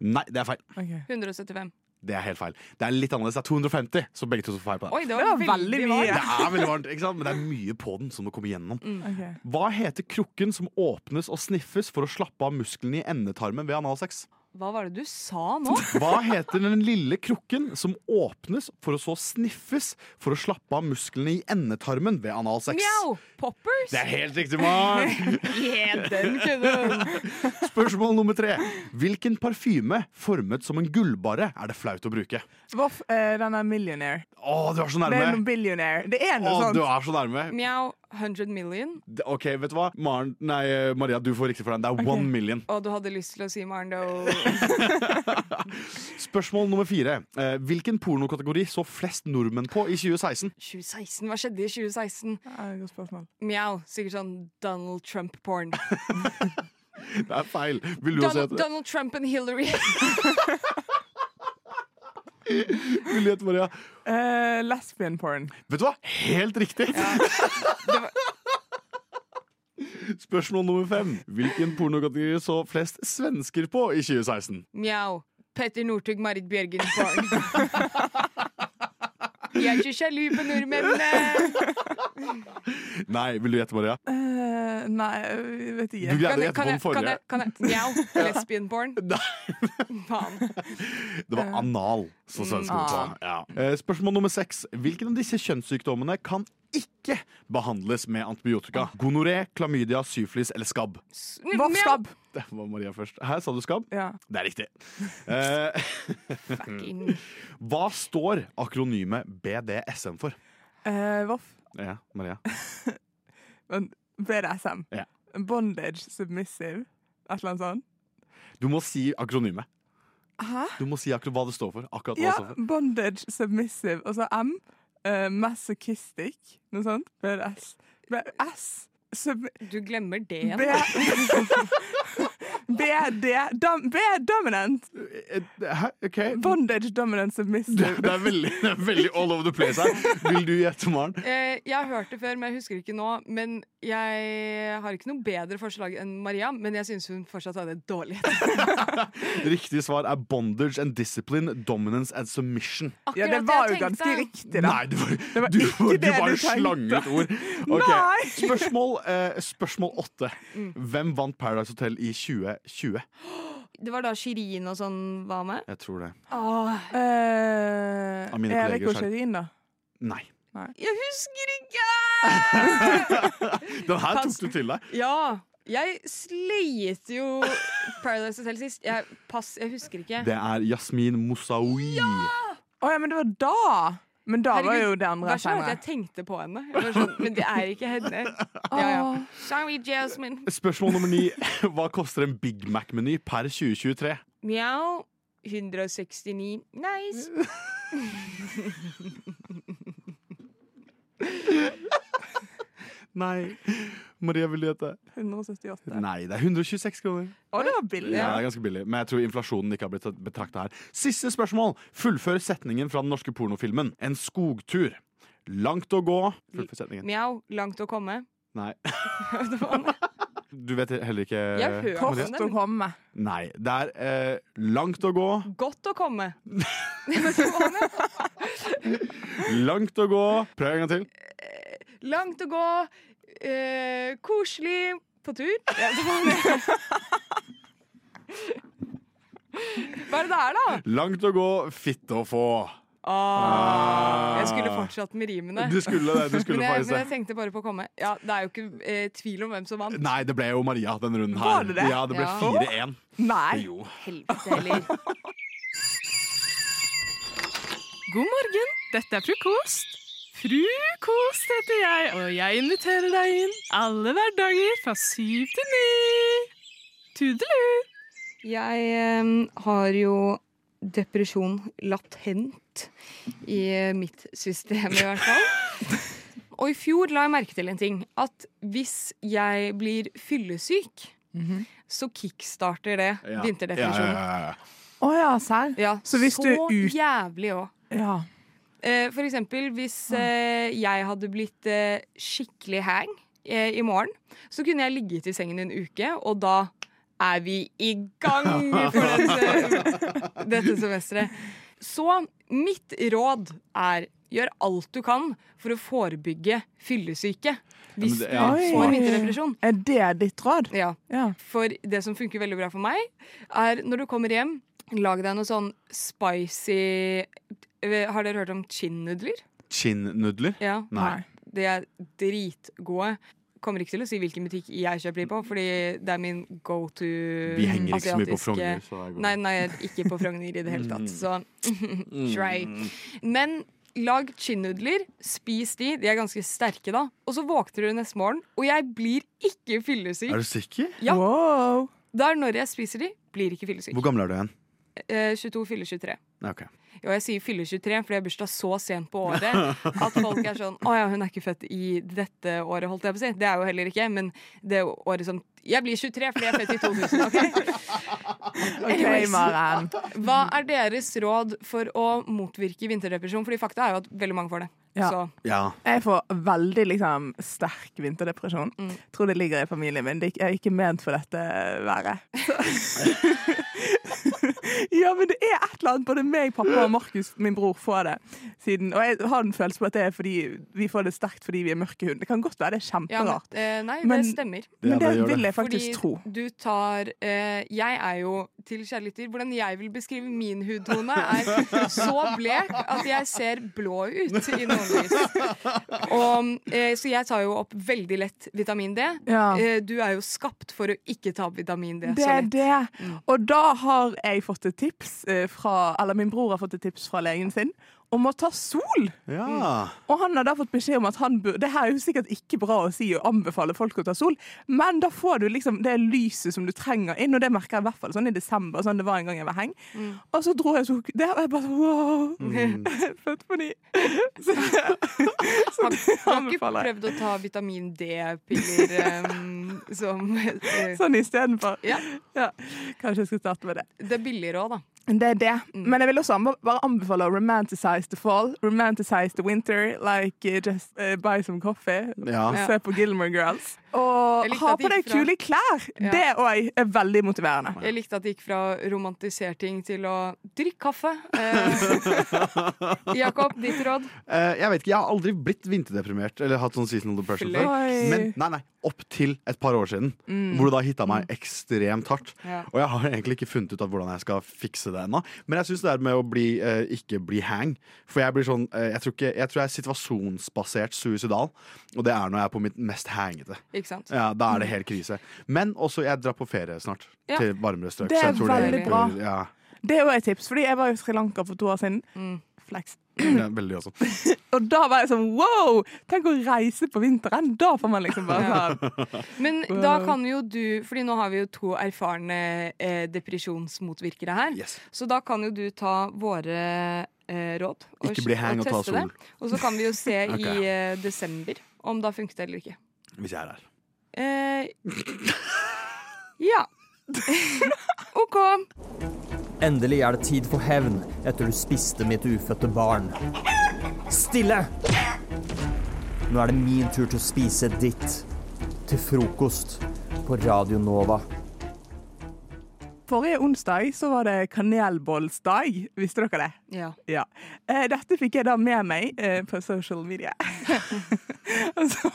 [SPEAKER 8] Nei, det er feil.
[SPEAKER 10] Ok.
[SPEAKER 11] 175.
[SPEAKER 8] Det er helt feil. Det er litt annerledes. Det er 250, så begge to tar feil på det.
[SPEAKER 11] Oi, det var, veldig
[SPEAKER 8] Det
[SPEAKER 11] mye.
[SPEAKER 8] er
[SPEAKER 11] [laughs]
[SPEAKER 8] veldig varmt, ikke sant? men det er mye på den som må komme gjennom.
[SPEAKER 10] Ok.
[SPEAKER 8] Hva heter krukken som åpnes og sniffes for å slappe av musklene i endetarmen ved analsex?
[SPEAKER 11] Hva var det du sa nå?
[SPEAKER 8] Hva heter den lille krukken som åpnes for å så sniffes for å slappe av musklene i endetarmen ved analsex?
[SPEAKER 11] Mjau! Poppers?
[SPEAKER 8] Det er helt riktig, Maren!
[SPEAKER 11] [laughs] Yeah, den kunne hun.
[SPEAKER 8] Spørsmål nummer tre. Hvilken parfyme formet som en gullbarre er det flaut å bruke?
[SPEAKER 10] Voff, eh, den er millionaire.
[SPEAKER 8] Å, du er så
[SPEAKER 10] Det er noe
[SPEAKER 8] nærme!
[SPEAKER 10] billionaire. Det er
[SPEAKER 8] Å,
[SPEAKER 10] noe sånn.
[SPEAKER 11] sånn-
[SPEAKER 8] du
[SPEAKER 10] sånt.
[SPEAKER 8] er så nærme.
[SPEAKER 11] Mjau 100 million.
[SPEAKER 8] D- OK, vet du hva? Maren, nei, eh, Maria, du får riktig for den. Det er one million.
[SPEAKER 11] Og du hadde lyst til å si Maren Doe. [laughs]
[SPEAKER 8] Spørsmål nummer fire. Eh, Hvilken pornokategori så flest nordmenn på i 2016?
[SPEAKER 11] 2016? Hva skjedde i 2016?
[SPEAKER 10] Ja, det er et godt spørsmål.
[SPEAKER 11] Mjau. Sikkert sånn Donald [laughs] Trump-porn.
[SPEAKER 8] [laughs] Det er feil. Vil du også
[SPEAKER 11] Donald,
[SPEAKER 8] gjette,
[SPEAKER 11] Donald Trump and Hillary. [laughs]
[SPEAKER 8] vil du gjette, Maria?
[SPEAKER 10] Eh, lesbian porn.
[SPEAKER 8] Vet du hva? Helt riktig! [laughs] Spørsmål nummer fem. Hvilken pornokategori så flest svensker på i 2016?
[SPEAKER 11] Mjau. Petter Northug, Marit Bjørgen-porn.
[SPEAKER 10] [laughs]
[SPEAKER 11] Jeg er ikke sjalu på nordmennene.
[SPEAKER 8] Nei, vil du gjette, Maria?
[SPEAKER 10] Eh, nei, jeg vet
[SPEAKER 8] Du
[SPEAKER 10] ikke.
[SPEAKER 8] greide å
[SPEAKER 11] jeg,
[SPEAKER 8] gjette på
[SPEAKER 11] kan
[SPEAKER 8] den
[SPEAKER 11] jeg, kan
[SPEAKER 8] forrige.
[SPEAKER 11] jeg, kan jeg Mjau. Lesbian-porn. Faen.
[SPEAKER 8] Det var anal
[SPEAKER 10] Mm.
[SPEAKER 8] som svenskene sa. Ja. Eh, Spørsmål nummer seks. Hvilken av disse kjønnssykdommene kan ikke behandles med
[SPEAKER 10] Ah.
[SPEAKER 8] antibiotika? Gonoré, klamydia, syflis eller skabb?
[SPEAKER 10] [laughs] Voff, skabb.
[SPEAKER 8] Det var Maria først. Her sa du skabb.
[SPEAKER 10] Ja.
[SPEAKER 8] Det er riktig. Eh,
[SPEAKER 11] Fucking.
[SPEAKER 8] hva står akronymet BDSM for?
[SPEAKER 10] Eh, voff.
[SPEAKER 8] Ja, Maria.
[SPEAKER 10] Men BDSM.
[SPEAKER 8] Ja.
[SPEAKER 10] Bondage submissive. Et eller annet sånt.
[SPEAKER 8] Du må si akronymet.
[SPEAKER 10] Hæ?
[SPEAKER 8] Du må si akkurat hva det står for. Akkurat hva
[SPEAKER 10] Ja,
[SPEAKER 8] det står for.
[SPEAKER 10] bondage submissive. Og så M. Uh, masochistic. Noe sånt. BDS. BS. Sub
[SPEAKER 11] Du glemmer det
[SPEAKER 10] B... [laughs] BD. Dom, B dominant.
[SPEAKER 8] Eh, Hæ? OK.
[SPEAKER 10] Bondage dominant
[SPEAKER 8] Det,
[SPEAKER 10] submissive.
[SPEAKER 8] det, er veldig, det er veldig all over the place her. Vil du gjette, Maren?
[SPEAKER 11] Eh, jeg har hørt det før, men jeg husker ikke nå. Men jeg har ikke noe bedre forslag enn Maria, men jeg syns hun fortsatt hadde et dårlig.
[SPEAKER 10] [laughs]
[SPEAKER 8] Riktig svar er bondage and discipline, dominance and submission.
[SPEAKER 10] Ja, det
[SPEAKER 11] Akkurat
[SPEAKER 10] var jo
[SPEAKER 11] jeg tenkte.
[SPEAKER 10] ganske riktig, da.
[SPEAKER 8] Nei, du, var-
[SPEAKER 10] var
[SPEAKER 8] du, du
[SPEAKER 10] ikke det du
[SPEAKER 8] bare
[SPEAKER 10] tenkte.
[SPEAKER 8] slang ut ord. Ok,
[SPEAKER 10] Nei.
[SPEAKER 8] Spørsmål, eh, spørsmål åtte. Hvem vant Paradise Hotel i 2020?
[SPEAKER 11] Det var da Shirin og sånn var med.
[SPEAKER 8] Jeg tror det.
[SPEAKER 11] Åh,
[SPEAKER 10] Eh,
[SPEAKER 8] Av mine
[SPEAKER 10] Erik
[SPEAKER 8] kolleger
[SPEAKER 10] og
[SPEAKER 8] selv.
[SPEAKER 10] Sherin, da.
[SPEAKER 8] Nei.
[SPEAKER 11] jeg husker ikke!
[SPEAKER 10] [laughs]
[SPEAKER 8] Den her tok du til deg.
[SPEAKER 11] Ja, jeg slet jo Paradise Hotel sist. Jeg, pass, jeg husker ikke.
[SPEAKER 8] Det er Yasmin Moussaoui.
[SPEAKER 10] Å ja, men det var da! Men da var
[SPEAKER 11] Herregud,
[SPEAKER 10] jo det andre
[SPEAKER 11] Vær så snill at
[SPEAKER 10] senere.
[SPEAKER 11] jeg tenkte på henne. Jeg var sånn, men det er ikke henne. Ja, ja. Sorry, Jasmine.
[SPEAKER 8] Spørsmål nummer ni. [laughs] Hva koster en Big Mac-meny per 2023?
[SPEAKER 11] Mjau. 169. Nice.
[SPEAKER 8] Nei. Maria, vil du gjette?
[SPEAKER 10] 178.
[SPEAKER 8] Nei, det er 126 kroner.
[SPEAKER 10] Å, det var billig.
[SPEAKER 8] Ja, det er ganske billig, Men jeg tror inflasjonen ikke har blitt betrakta her. Siste spørsmål. Fullfør setningen fra den norske pornofilmen 'En skogtur'. Langt å gå. Fullfør setningen.
[SPEAKER 11] Mjau. Langt å komme. [laughs]
[SPEAKER 8] Nei. [laughs]
[SPEAKER 11] Det var
[SPEAKER 8] Du vet heller ikke
[SPEAKER 11] Jeg har
[SPEAKER 8] Maria?
[SPEAKER 11] hørt
[SPEAKER 10] Kort å komme.
[SPEAKER 8] Nei. Det er eh, langt å gå,
[SPEAKER 11] Godt å komme.
[SPEAKER 8] langt å gå. Prøv en gang til.
[SPEAKER 11] Langt å gå. Eh, koselig på tur. [laughs] Hva er det det er, da?
[SPEAKER 8] Langt å gå, fitte å få.
[SPEAKER 11] Ah,
[SPEAKER 8] Ah.
[SPEAKER 11] jeg skulle fortsatt med rimene.
[SPEAKER 8] Du skulle
[SPEAKER 11] [laughs]
[SPEAKER 8] det. Du
[SPEAKER 11] Men
[SPEAKER 8] skulle
[SPEAKER 11] jeg,
[SPEAKER 8] faktisk det.
[SPEAKER 11] men jeg tenkte bare på å komme. Ja, Det er jo ikke eh, tvil om hvem som vant.
[SPEAKER 8] Nei, det ble jo Maria denne runden her.
[SPEAKER 10] Var det det?
[SPEAKER 8] Ja, det ble
[SPEAKER 11] Ja.
[SPEAKER 8] 4-1.
[SPEAKER 10] Nei.
[SPEAKER 8] Jo.
[SPEAKER 11] Helvete heller.
[SPEAKER 2] God morgen, dette er frokost. Frukost heter jeg, og jeg inviterer deg inn alle hverdager fra syv til ni. Tudelu!
[SPEAKER 11] [laughs] Jeg eh, har jo depresjon latent i eh, mitt system, i hvert fall.
[SPEAKER 8] [laughs]
[SPEAKER 11] Og i fjor la jeg merke til en ting. At hvis jeg blir fyllesyk, så kickstarter det
[SPEAKER 8] Mhm. Ja.
[SPEAKER 11] vinterdepresjonen.
[SPEAKER 8] Ja, ja, ja, ja.
[SPEAKER 10] Å ja, serr?
[SPEAKER 11] Ja,
[SPEAKER 10] Så hvis du er ut-
[SPEAKER 11] jævlig òg.
[SPEAKER 10] Ja.
[SPEAKER 11] Eh, For eksempel hvis eh, jeg hadde blitt eh, skikkelig hang eh, i morgen, så kunne jeg ligget i sengen i en uke, og da er vi i gang
[SPEAKER 10] [laughs]
[SPEAKER 11] for dette, dette semesteret. Så mitt råd er gjør alt du kan for å forebygge fyllesyke. Hvis
[SPEAKER 10] det-
[SPEAKER 11] du
[SPEAKER 10] ja, smart.
[SPEAKER 11] får vinterdepresjon.
[SPEAKER 10] Eh, Er det ditt råd?
[SPEAKER 11] Ja. For det som funker veldig bra for meg, er når du kommer hjem, lag deg noe sånn spicy eh, Har dere hørt om chin-nudler?
[SPEAKER 8] Chinnudler?
[SPEAKER 11] Ja.
[SPEAKER 8] Nei.
[SPEAKER 11] De er dritgode. Kommer ikke til å si hvilken butikk jeg kjøper de på, fordi det er min go to
[SPEAKER 8] Vi henger ikke så mye på Frogner, så det går bra.
[SPEAKER 11] Nei, nei, ikke på Frogner i det hele tatt. Så
[SPEAKER 8] Mm.
[SPEAKER 11] [laughs] try. Men lag chinnudler, spis de, de er ganske sterke da. Og så våkner du neste morgen, og jeg blir ikke fyllesyk.
[SPEAKER 8] Er du sikker?
[SPEAKER 11] Ja. Det er når jeg spiser de, blir ikke fyllesyk.
[SPEAKER 8] Hvor gammel er du igjen?
[SPEAKER 11] Eh, 22 fyller 23.
[SPEAKER 8] Nei, ok.
[SPEAKER 11] Og jeg sier fyller 23 fordi jeg har bursdag så sent på året at folk er sånn Å ja, hun er ikke født i dette året, holdt jeg på å si. Det er jo heller ikke, men det året som Jeg blir 23 fordi jeg er født i 2000, OK?
[SPEAKER 10] [laughs]
[SPEAKER 11] Anyways.
[SPEAKER 10] Maren.
[SPEAKER 11] Hva er deres råd for å motvirke vinterdepresjon? Fordi fakta er jo at veldig mange får det.
[SPEAKER 10] Ja.
[SPEAKER 11] Så
[SPEAKER 10] Jeg får veldig liksom, sterk vinterdepresjon. Tror det ligger i familien min. Det er ikke- Jeg er ikke ment for dette været. Så- [laughs] ja, men det er et eller annet. Både meg, pappa og Markus, min bror, får det. Siden, og jeg har en følelse på at det er fordi vi får det sterkt fordi vi er mørke hund. Det kan godt være det er
[SPEAKER 11] ja, men,
[SPEAKER 10] kjemperart.
[SPEAKER 11] eh, nei,
[SPEAKER 10] Men-
[SPEAKER 11] det stemmer.
[SPEAKER 10] men Ja, det det gjør det. vil jeg faktisk
[SPEAKER 11] Fordi
[SPEAKER 10] tro.
[SPEAKER 11] Du tar eh, Jeg er jo til kjære lytter Hvordan jeg vil beskrive min hudtone, er så blek at jeg ser blå ut i noen lys. Og, eh, så jeg tar jo opp veldig lett vitamin D.
[SPEAKER 10] Ja.
[SPEAKER 11] Eh, du er jo skapt for å ikke ta opp vitamin D Mm.
[SPEAKER 10] Det
[SPEAKER 11] så
[SPEAKER 10] er
[SPEAKER 11] lett.
[SPEAKER 10] det. Og da har jeg fått et tips eh, fra Eller min bror har fått et tips fra legen sin om å ta sol.
[SPEAKER 8] Ja.
[SPEAKER 10] Og han har da fått beskjed om at han bur Det her er jo sikkert ikke bra å si og anbefale folk å ta sol, men da får du liksom det lyset som du trenger inn, og det merker jeg i hvert fall sånn i desember. Sånn det var en gang jeg var heng.
[SPEAKER 11] Mm.
[SPEAKER 10] Og så dro jeg sol Det var jeg bare sånn wow! [laughs] Født på ny.
[SPEAKER 11] [laughs] Har, har ikke
[SPEAKER 10] anbefaler jeg.
[SPEAKER 11] prøvd å ta vitamin
[SPEAKER 10] [laughs]
[SPEAKER 11] D-piller eh, som eh,
[SPEAKER 10] Sånn istedenfor.
[SPEAKER 11] Ja.
[SPEAKER 10] Ja. Kanskje jeg skal starte med det.
[SPEAKER 11] Det er billigere òg, da.
[SPEAKER 10] Det er det.
[SPEAKER 11] Mm.
[SPEAKER 10] Men jeg vil også anbe- bare anbefale å romanticize the fall. Romanticize the winter. Like eh, just eh, buy some coffee.
[SPEAKER 8] Ja.
[SPEAKER 10] Se på Gilmore Girls. Og
[SPEAKER 11] Jeg likte
[SPEAKER 10] ha
[SPEAKER 11] at de
[SPEAKER 10] på deg
[SPEAKER 11] gikk fra-
[SPEAKER 10] kule klær!
[SPEAKER 11] Ja.
[SPEAKER 10] Det òg er veldig motiverende.
[SPEAKER 11] Jeg likte at det gikk fra å romantisere ting til å drikke kaffe. Eh,
[SPEAKER 10] [laughs]
[SPEAKER 11] Jakob, ditt råd?
[SPEAKER 8] Eh, jeg vet ikke, jeg har aldri blitt vinterdeprimert eller hatt sånn seasonal depression
[SPEAKER 11] Flaks.
[SPEAKER 8] før. Men nei, nei, opp til et par år siden,
[SPEAKER 11] Mm.
[SPEAKER 8] hvor det da hitta meg ekstremt hardt.
[SPEAKER 11] Ja.
[SPEAKER 8] Og jeg har egentlig ikke funnet ut av hvordan jeg skal fikse det ennå. Men jeg syns det er med å bli, eh, ikke bli hang. For jeg blir sånn eh, jeg, tror ikke, jeg tror jeg er situasjonsbasert suicidal, og det er når jeg er på mitt mest hangete.
[SPEAKER 11] Ikke sant?
[SPEAKER 8] Ja, Da er det helt krise. Men også, jeg drar på ferie snart.
[SPEAKER 10] Ja.
[SPEAKER 8] Til varmere strøk.
[SPEAKER 10] Det
[SPEAKER 8] så
[SPEAKER 10] er
[SPEAKER 8] jeg tror
[SPEAKER 10] veldig bra.
[SPEAKER 8] hjelper, Ja,
[SPEAKER 10] Det er òg et tips, fordi jeg var i Sri Lanka for to år siden.
[SPEAKER 11] Mm.
[SPEAKER 10] Flex.
[SPEAKER 8] det er veldig også.
[SPEAKER 10] Og da var jeg sånn wow! Tenk å reise på vinteren! Da får man liksom bare sånn
[SPEAKER 11] [laughs] Men da kan jo du Fordi nå har vi jo to erfarne eh, depresjonsmotvirkere her. Så da kan jo du ta våre eh, råd og,
[SPEAKER 8] Ikke bli hang og ta
[SPEAKER 11] teste det.
[SPEAKER 8] sol.
[SPEAKER 11] Og så kan vi jo se
[SPEAKER 8] [laughs] Ok.
[SPEAKER 11] i eh, desember om det har funket eller ikke.
[SPEAKER 8] Hvis jeg er her.
[SPEAKER 11] Eh,
[SPEAKER 8] [laughs]
[SPEAKER 11] ja. [laughs] OK.
[SPEAKER 12] Endelig er det tid for hevn etter du spiste mitt ufødte barn. Stille! Nå er det min tur til å spise ditt. Til frokost på Radio Nova.
[SPEAKER 10] Forrige onsdag så var det kanelbollsdag. Visste dere det?
[SPEAKER 11] Ja.
[SPEAKER 10] Ja. Eh, Dette fikk jeg da med meg eh, på social media. og, så,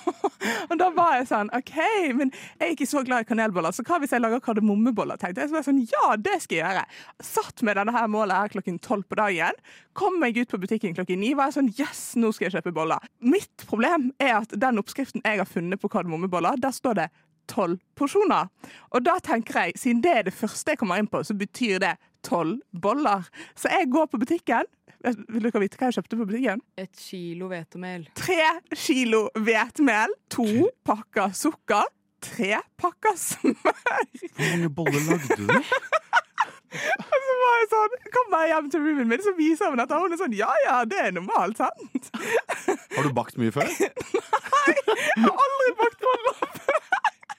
[SPEAKER 10] og da var jeg sånn OK, men jeg er ikke så glad i kanelboller, så hva hvis jeg lager kardemommeboller? tenkte jeg. Så var jeg sånn, ja, det skal jeg gjøre. Satt med denne her målet her klokken tolv på dagen. Kom meg ut på butikken klokken ni. Var jeg sånn yes, nå skal jeg kjøpe boller. Mitt problem er at den oppskriften jeg har funnet på kardemommeboller, der står det tolv porsjoner. Og da tenker jeg, siden det er det første jeg kommer inn på, så betyr det tolv boller. Så jeg går på butikken. Vil dere vite hva jeg kjøpte på butikken?
[SPEAKER 11] Et kilo hvetemel.
[SPEAKER 10] Tre kilo hvetemel, to pakker sukker, tre pakker smør.
[SPEAKER 8] Hvor mange boller lagde du?
[SPEAKER 10] Og så var jeg sånn, kommer jeg hjem til roomien min, så viser hun dette. Og hun er sånn, ja, ja, det er normalt, sant?
[SPEAKER 8] Har du bakt mye før?
[SPEAKER 10] Jeg har aldri bakt boller før.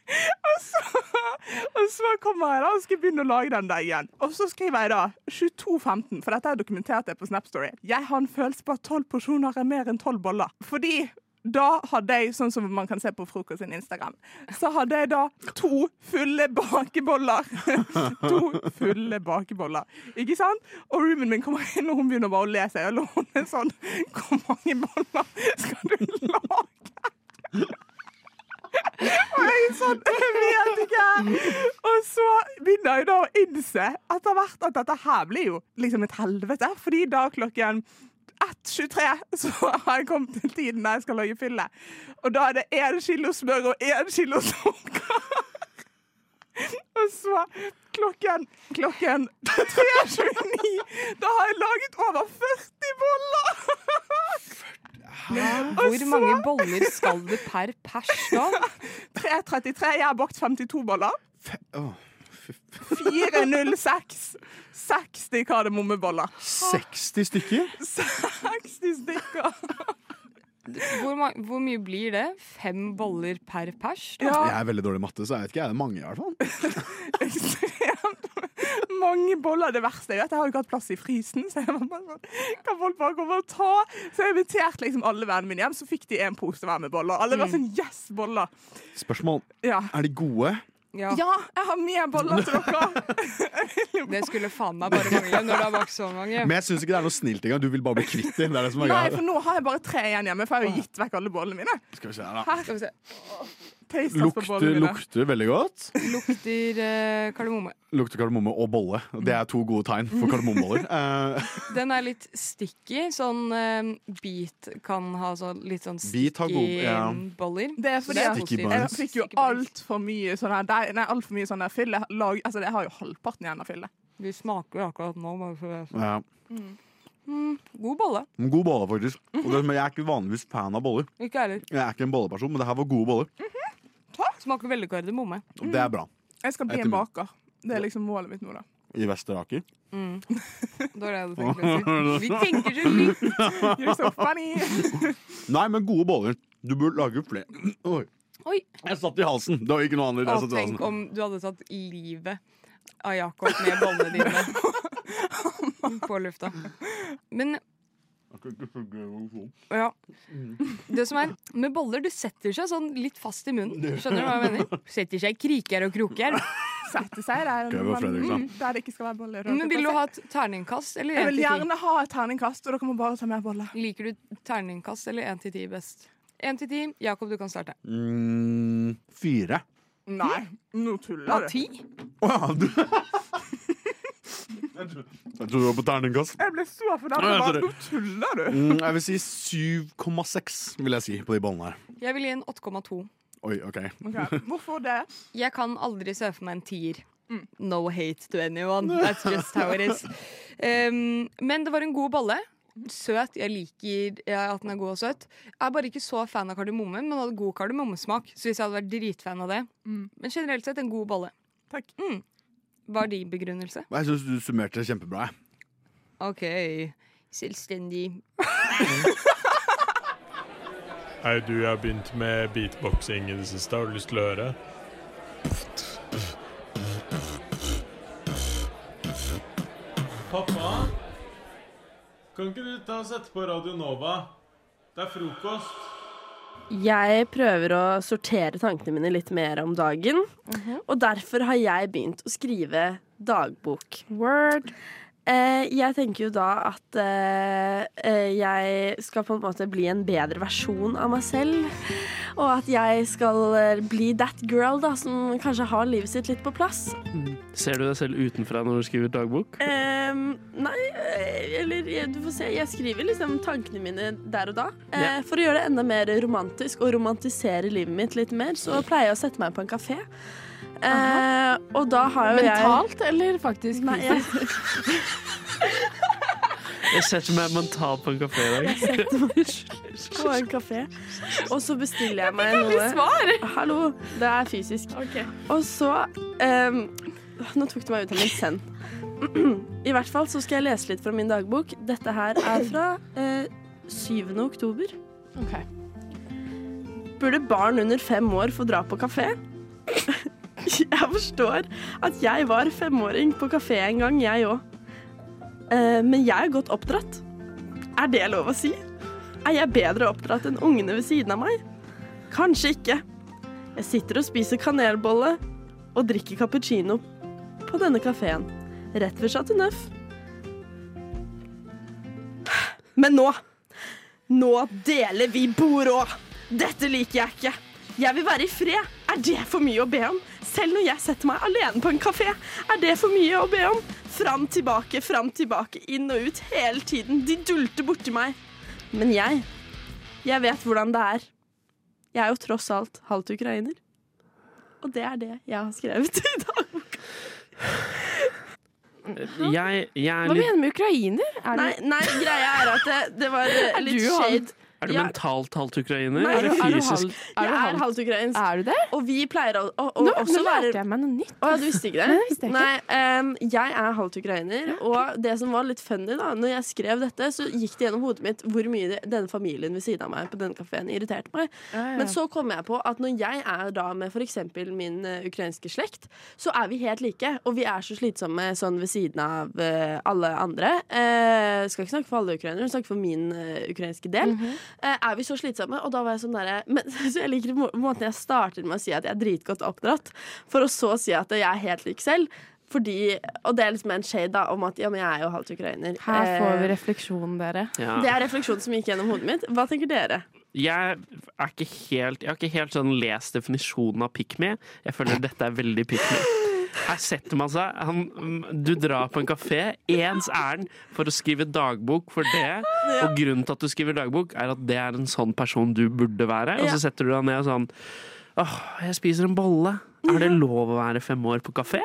[SPEAKER 10] Og så, og så kom kommer jeg da og skal begynne å lage den der igjen. Og så skriver jeg da 22.15, for dette er dokumentert jeg på Snap Story. Jeg har en følelse på at tolv porsjoner er mer enn tolv boller. Fordi da hadde jeg, sånn som man kan se på frokost sin Instagram, så hadde jeg da to fulle bakeboller. [laughs] to fulle bakeboller. Ikke sant? Og roomien min kommer inn, og hun begynner bare å le seg i hjel. og Hun er sånn Hvor mange boller skal du lage? Og jeg er sånn Jeg vet ikke! Og så begynner jeg da å innse etter hvert at dette her blir jo liksom et helvete. Fordi da klokken 1.23 så har jeg kommet til tiden der jeg skal lage fylle. Og da er det én kilo smør og én kilo sukker. Og så klokken klokken 3.29 Da har jeg laget over 40 boller!
[SPEAKER 11] Men hvor mange boller skal du per pers da?
[SPEAKER 10] [laughs] 3.33. Jeg har bakt 52 boller.
[SPEAKER 8] Åh,
[SPEAKER 10] 406. 60 kardemommeboller.
[SPEAKER 8] 60 stykker?
[SPEAKER 10] 60 stykker.
[SPEAKER 11] Hvor, ma- hvor mye blir det? Fem boller per pers? Da?
[SPEAKER 8] Jeg er veldig dårlig i matte, så jeg vet ikke. Jeg er det mange, i hvert fall.
[SPEAKER 10] Mange boller er det verste. Jeg vet, jeg har jo ikke hatt plass i frysen, så jeg var bare sånn Kan folk bare komme og ta? Så jeg inviterte liksom alle vennene mine hjem, så fikk de en pose hver med boller. Alle
[SPEAKER 11] Mm.
[SPEAKER 10] var sånn Yes, boller!
[SPEAKER 8] Spørsmål.
[SPEAKER 10] Ja.
[SPEAKER 8] Er de gode?
[SPEAKER 10] Ja. jeg har med boller til dere!
[SPEAKER 11] [laughs] det skulle faen meg bare mangle når du har bakt så mange.
[SPEAKER 8] Men jeg syns ikke det er noe snilt engang. Du vil bare bli kvitt dem. Det er det som er
[SPEAKER 10] Nei, for
[SPEAKER 8] greia.
[SPEAKER 10] nå har jeg bare tre igjen hjemme, for jeg har jo gitt vekk alle bollene mine.
[SPEAKER 8] Skal vi se her, da.
[SPEAKER 10] Her. Paste oss på
[SPEAKER 8] Lukter,
[SPEAKER 10] bollene mine.
[SPEAKER 8] lukter veldig godt.
[SPEAKER 11] Lukter eh, kardemomme.
[SPEAKER 8] Lukter kardemomme og bolle. Det er to gode tegn for
[SPEAKER 11] [laughs]
[SPEAKER 8] kardemommeboller. Eh,
[SPEAKER 11] Mm. Den er litt sticky. Sånn eh, beat kan ha sånn, litt sånn
[SPEAKER 8] Beat har
[SPEAKER 11] sticky
[SPEAKER 8] god- ja.
[SPEAKER 11] boller.
[SPEAKER 10] Det er fordi at
[SPEAKER 8] Sticky
[SPEAKER 10] jeg
[SPEAKER 8] buns.
[SPEAKER 10] fikk jo altfor mye sånn her deig- Nei, alt for mye sånn her fylle. Lag, altså, jeg har jo halvparten igjen av fylle.
[SPEAKER 11] Vi smaker akkurat nå. Bare for å-
[SPEAKER 8] ja.
[SPEAKER 11] mm, god bolle.
[SPEAKER 8] Men God bolle, faktisk. Og det, men jeg er ikke vanligvis fan av boller.
[SPEAKER 11] Ikke heller.
[SPEAKER 8] Jeg er ikke en bolleperson, men det her var gode boller.
[SPEAKER 11] Smaker veldig kardemomme.
[SPEAKER 8] Og det er bra.
[SPEAKER 10] Jeg skal bli
[SPEAKER 8] Etter
[SPEAKER 10] en
[SPEAKER 8] min-
[SPEAKER 10] baker. Det er liksom målet mitt nå, da.
[SPEAKER 8] I Vesteraker.
[SPEAKER 11] Mm. Det var det jeg hadde tenkt å si. Vi tenker så likt!
[SPEAKER 10] You're so funny!
[SPEAKER 8] Nei, men gode boller. Du burde lage flere. Oi.
[SPEAKER 11] Oi.
[SPEAKER 8] Jeg satt i halsen. Det var ikke noe annet. i det jeg
[SPEAKER 11] Og
[SPEAKER 8] satt i
[SPEAKER 11] tenk
[SPEAKER 8] halsen.
[SPEAKER 11] om du hadde tatt livet av Jakob med bollene dine på lufta. Men ja. Det som er med boller, du setter seg sånn litt fast i munnen. Skjønner du hva jeg mener? Setter seg i kriker og kroker.
[SPEAKER 10] Sette seg der,
[SPEAKER 8] Gøy, hvor Fredrik sa.
[SPEAKER 10] man, der det ikke skal være boller.
[SPEAKER 11] Men vil du ha et terningkast eller
[SPEAKER 10] Jeg
[SPEAKER 11] én
[SPEAKER 10] vil
[SPEAKER 11] til ti?
[SPEAKER 10] gjerne ha et terningkast, og dere må bare ta med boller.
[SPEAKER 11] Liker du terningkast eller én til ti best? Én til ti. Jakob, du kan starte.
[SPEAKER 8] Mm, fire.
[SPEAKER 10] Nei, nå
[SPEAKER 11] Ja,
[SPEAKER 10] tuller du.
[SPEAKER 11] ti?
[SPEAKER 8] Å ja, du Jeg tro- Jeg trodde du var på terningkast.
[SPEAKER 10] Jeg ble så fornærmet.
[SPEAKER 8] Nei,
[SPEAKER 10] bare,
[SPEAKER 8] sorry.
[SPEAKER 10] Nå tuller du!
[SPEAKER 8] Mm, jeg vil si 7,6 vil jeg si på de bollene her.
[SPEAKER 11] Jeg vil gi en 8,2.
[SPEAKER 8] Oi, OK.
[SPEAKER 10] Ok, Hvorfor det? Mm.
[SPEAKER 11] Jeg kan aldri se for meg en tier. No hate to anyone. That's just how it is. Um, men det var en god bolle. Søt. Jeg liker ja, at den er god og søt. Jeg er bare ikke så fan av kardemomme, men hadde god kardemommesmak. Så hvis jeg hadde vært dritfan av det
[SPEAKER 10] Mm.
[SPEAKER 11] Men generelt sett en god bolle.
[SPEAKER 10] Takk.
[SPEAKER 11] Mm. Var din begrunnelse?
[SPEAKER 8] Jeg syns du summerte det kjempebra. jeg.
[SPEAKER 11] OK. Selvstendig.
[SPEAKER 13] Hei, du, jeg har begynt med beatboxing i det siste. Har du lyst til å høre? Pappa? Kan ikke du ta og sette på Radio Nova? Det er frokost.
[SPEAKER 6] Jeg prøver å sortere tankene mine litt mer om dagen.
[SPEAKER 11] Mhm.
[SPEAKER 6] Og derfor har jeg begynt å skrive dagbok. Word. Eh, jeg tenker jo da at eh, eh, jeg skal på en måte bli en bedre versjon av meg selv. Og at jeg skal eh, bli that girl da, som kanskje har livet sitt litt på plass.
[SPEAKER 14] Ser du deg selv utenfra når du skriver dagbok?
[SPEAKER 6] Ehm, nei, eh, eller eh, du får se. Jeg skriver liksom tankene mine der og da. Eh,
[SPEAKER 14] Ja.
[SPEAKER 6] For å gjøre det enda mer romantisk og romantisere livet mitt litt mer, så pleier jeg å sette meg på en kafé. Eh, og da har jo
[SPEAKER 15] Mentalt,
[SPEAKER 6] jeg eller faktisk? Nei, jeg,
[SPEAKER 14] Jeg setter meg mentalt på en kafé i
[SPEAKER 6] jeg
[SPEAKER 14] dag.
[SPEAKER 6] setter meg på en kafé, og så bestiller jeg meg
[SPEAKER 15] aldri
[SPEAKER 6] noe. Hallo, det er fysisk. Og så ehm, Nå tok du meg ut av min send. [clears throat] I hvert fall så skal jeg lese litt fra min dagbok. Dette her er fra eh, 7. oktober. Burde barn under fem år få dra på kafé? [laughs] Jeg forstår at jeg var femåring på kafé en gang, jeg òg. Eh, Men jeg er godt oppdratt. Er det lov å si? Er jeg bedre oppdratt enn ungene ved siden av meg? Kanskje ikke. Jeg sitter og spiser kanelbolle og drikker cappuccino på denne kafeen. Rett ved Chateau Neuf. Men nå Nå deler vi bord òg! Dette liker jeg ikke. Jeg vil være i fred. Er det for mye å be om? Selv når jeg setter meg alene på en kafé, er det for mye å be om? Fram, tilbake, fram, tilbake, inn og ut hele tiden. De dulter borti meg. Men jeg, jeg vet hvordan det er. Jeg er jo tross alt halvt ukrainer. Og det er det jeg har skrevet i dag.
[SPEAKER 14] Jeg, jeg er
[SPEAKER 6] Hva
[SPEAKER 14] litt
[SPEAKER 6] med ukrainer? nei, nei, greia er at det, det var eh,
[SPEAKER 14] Er
[SPEAKER 6] litt
[SPEAKER 14] du halv-
[SPEAKER 6] shade.
[SPEAKER 14] Er du
[SPEAKER 6] Ja.
[SPEAKER 14] mentalt halvt ukrainer?
[SPEAKER 6] Nei, er
[SPEAKER 14] eller
[SPEAKER 6] du
[SPEAKER 14] fysisk?
[SPEAKER 6] halvt- Jeg er halvt ukrainsk. Er du det? Og vi pleier å, å, å
[SPEAKER 15] Nå,
[SPEAKER 6] også
[SPEAKER 15] nå
[SPEAKER 6] være
[SPEAKER 15] lærte jeg meg noe nytt.
[SPEAKER 6] Å ja, du visste ikke det?
[SPEAKER 15] Nei, det visste jeg ikke.
[SPEAKER 6] Nei, em, jeg er halvt ukrainer, og det som var litt funny, da Når jeg skrev dette, så gikk det gjennom hodet mitt hvor mye det, denne familien ved siden av meg på denne kafeen irriterte meg.
[SPEAKER 15] Ja, ja.
[SPEAKER 6] Men så kom jeg på at når jeg er da med f.eks. min eh, ukrainske slekt, så er vi helt like, og vi er så slitsomme sånn ved siden av eh, alle andre. Eh, skal ikke snakke for alle ukrainere, jeg snakker for min eh, ukrainske del. Eh, er vi så slitsomme? Og da var jeg sånn derre men- [laughs] Så jeg liker må- måten jeg starter med å si at jeg er dritgodt oppdratt, for å så si at jeg er helt lik selv. Fordi, og det er liksom en shade da om at ja, men jeg er jo halvt ukrainer.
[SPEAKER 15] Her får vi
[SPEAKER 6] Eh,
[SPEAKER 15] refleksjonen, dere.
[SPEAKER 14] Ja.
[SPEAKER 6] Det er refleksjonen som gikk gjennom hodet mitt. Hva tenker dere?
[SPEAKER 14] Jeg er ikke helt Jeg har ikke helt sånn lest definisjonen av pick me. Jeg føler dette er veldig pick me. Her setter man seg han, mm, Du drar på en kafé, ens ærend for å skrive dagbok for det. Og grunnen til at du skriver dagbok, er at det er en sånn person du burde være. Og
[SPEAKER 6] Ja.
[SPEAKER 14] så setter du deg ned og sånn Åh, jeg spiser en bolle. Er
[SPEAKER 6] Mhm.
[SPEAKER 14] det lov å være fem år på
[SPEAKER 6] [laughs]
[SPEAKER 14] kafé?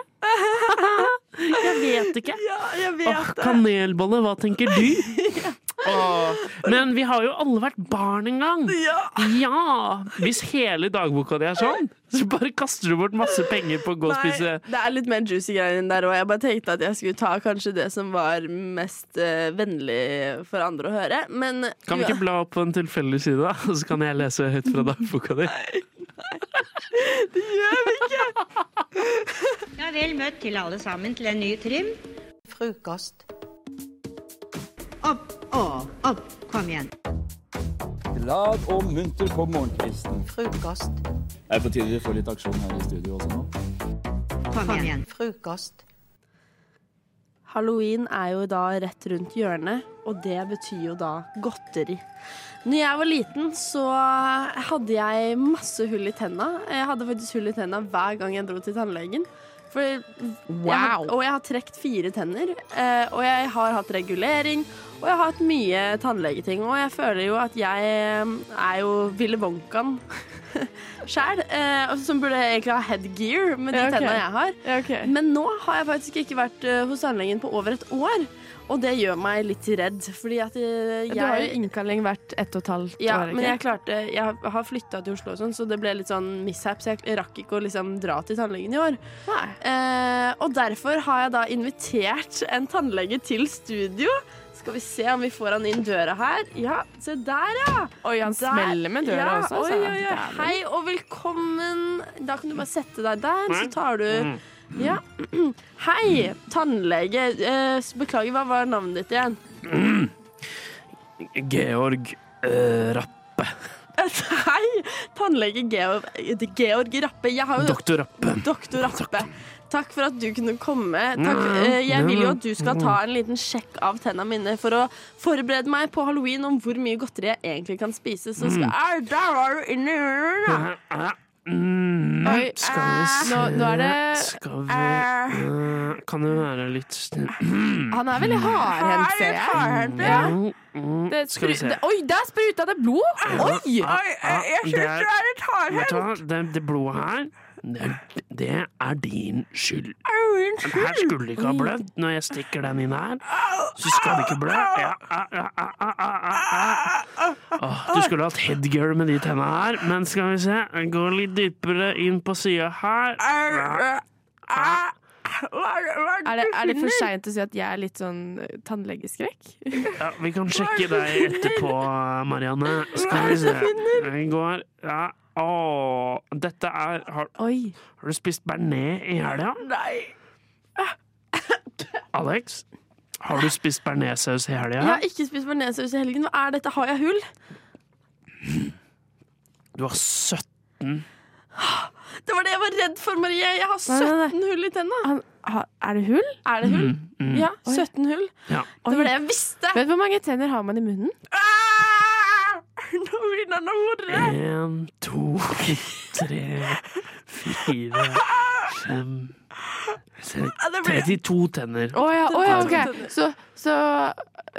[SPEAKER 14] Jeg vet ikke.
[SPEAKER 6] Ja, jeg vet
[SPEAKER 14] Åh,
[SPEAKER 6] det.
[SPEAKER 14] kanelbolle, hva tenker du?
[SPEAKER 6] [laughs]
[SPEAKER 14] Åh, men vi har jo alle vært barn en gang.
[SPEAKER 6] Ja.
[SPEAKER 14] Hvis hele dagboka di er sånn, så bare kaster du bort masse penger på å gå og spise
[SPEAKER 6] det er litt mer juicy greier enn der òg. Jeg bare tenkte at jeg skulle ta kanskje det som var mest eh, vennlig for andre å høre. Men
[SPEAKER 14] Kan vi ikke bla opp på en tilfeldig side, da? Og så kan jeg lese høyt fra dagboka di.
[SPEAKER 16] Ja, vel møtt til alle sammen til en ny trim. Frokost. Opp og opp. Kom igjen.
[SPEAKER 17] Glad og munter på morgenkvisten.
[SPEAKER 16] Frokost.
[SPEAKER 17] Det er på tide vi får litt aksjon her i studio også nå.
[SPEAKER 16] Kom igjen.
[SPEAKER 6] Frokost. Halloween er jo da rett rundt hjørnet, og det betyr jo da godteri. Når jeg var liten, så hadde jeg masse hull i tenna. Jeg hadde faktisk hull i tenna hver gang jeg dro til tannlegen. For jeg har,
[SPEAKER 15] Wow.
[SPEAKER 6] og jeg har trukket fire tenner, eh, og jeg har hatt regulering, og jeg har hatt mye tannlegeting. Og jeg føler jo at jeg eh, er jo Ville [laughs] Wonkaen sjæl, eh, og som burde egentlig ha headgear med de
[SPEAKER 15] Ja, ok.
[SPEAKER 6] tenna jeg har. Men nå har jeg faktisk ikke vært eh, hos tannlegen på over et år, og det gjør meg litt redd. Fordi at eh, jeg
[SPEAKER 15] Du har jo innkalling hvert ett og et halvt
[SPEAKER 6] ja,
[SPEAKER 15] år.
[SPEAKER 6] men jeg klarte Jeg har flytta til Oslo, og sånn, så det ble litt sånn mishap. Så jeg rakk ikke å liksom dra til tannlegen i år. Eh, og derfor har jeg da invitert en tannlege til studio. Skal vi se om vi får han inn døra her. Ja, se der, ja!
[SPEAKER 15] Oi, han
[SPEAKER 6] Der-
[SPEAKER 15] smeller med døra
[SPEAKER 6] ja,
[SPEAKER 15] også, altså.
[SPEAKER 6] Oi, oi, oi.
[SPEAKER 15] Dæven.
[SPEAKER 6] Hei og velkommen. Da kan du bare sette deg der, så tar
[SPEAKER 15] Mm.
[SPEAKER 6] du Ja. [clears throat] Hei, tannlege. Eh, beklager, hva var navnet ditt igjen? [laughs]
[SPEAKER 14] Georg eh, Rappe.
[SPEAKER 6] Hei, tannlege Georg, Georg Rappe. Jeg har jo
[SPEAKER 14] Doktor Rappe.
[SPEAKER 6] Doktor Rappe. Takk for at du kunne komme. Takk.
[SPEAKER 14] Nei,
[SPEAKER 6] Eh, Jeg vil jo
[SPEAKER 14] nei,
[SPEAKER 6] at du skal
[SPEAKER 14] nei.
[SPEAKER 6] ta en liten sjekk av tennene mine for å forberede meg på halloween om hvor mye godteri jeg egentlig kan spise. Så skal
[SPEAKER 14] Mm.
[SPEAKER 6] Au, der var du inne i røret.
[SPEAKER 14] Mm,
[SPEAKER 6] Oi,
[SPEAKER 14] skal vi
[SPEAKER 6] Eh,
[SPEAKER 14] se
[SPEAKER 15] nå- nå er det-
[SPEAKER 14] Skal vi eh, Kan det være litt snill
[SPEAKER 15] Han er veldig hardhendt, ser jeg. Det
[SPEAKER 14] Mm, Skal vi
[SPEAKER 15] spru-
[SPEAKER 14] se.
[SPEAKER 15] det- Oi, der spruta det blod! Oi!
[SPEAKER 14] Vet du hva, det, det blodet her, det, det er din skyld. Den her skulle ikke ha blødd. Når jeg stikker den inn her, så skal det ikke blø. Ja, ah, ah, ah, ah, ah, ah, ah. Åh, du skulle hatt headgear med de tenna her, men skal vi se. Jeg går litt dypere inn på sida her. Ja.
[SPEAKER 15] Er det, er det for seint å si at jeg er litt sånn eh, tannlegeskrekk?
[SPEAKER 14] Ja, vi kan sjekke deg etterpå, Marianne. Skal vi se. Jeg går ja, Åh, dette er har, har du spist bearnés i helga?
[SPEAKER 6] Nei.
[SPEAKER 14] Alex? Har du spist bearnéssaus i helga?
[SPEAKER 6] Jeg har ikke spist bearnéssaus i helgen. Hva er dette? Har jeg hull?
[SPEAKER 14] Du har 17
[SPEAKER 6] Det var det jeg var redd for, Marie. Jeg har
[SPEAKER 4] Nei, nei,
[SPEAKER 6] 17
[SPEAKER 4] nei.
[SPEAKER 6] hull i tenna.
[SPEAKER 15] Er det hull?
[SPEAKER 6] Er det hull?
[SPEAKER 14] Mm.
[SPEAKER 6] Ja, 17 hull.
[SPEAKER 14] Ja.
[SPEAKER 6] Det var det jeg visste. Ah!
[SPEAKER 15] Vet du hvor mange tenner har man i munnen?
[SPEAKER 6] Nå begynner han å hore.
[SPEAKER 14] En, to, tre, fire, fem se-
[SPEAKER 15] Ja, det ble-
[SPEAKER 14] 32 tenner.
[SPEAKER 15] Å ja, å ja, ok. Så, så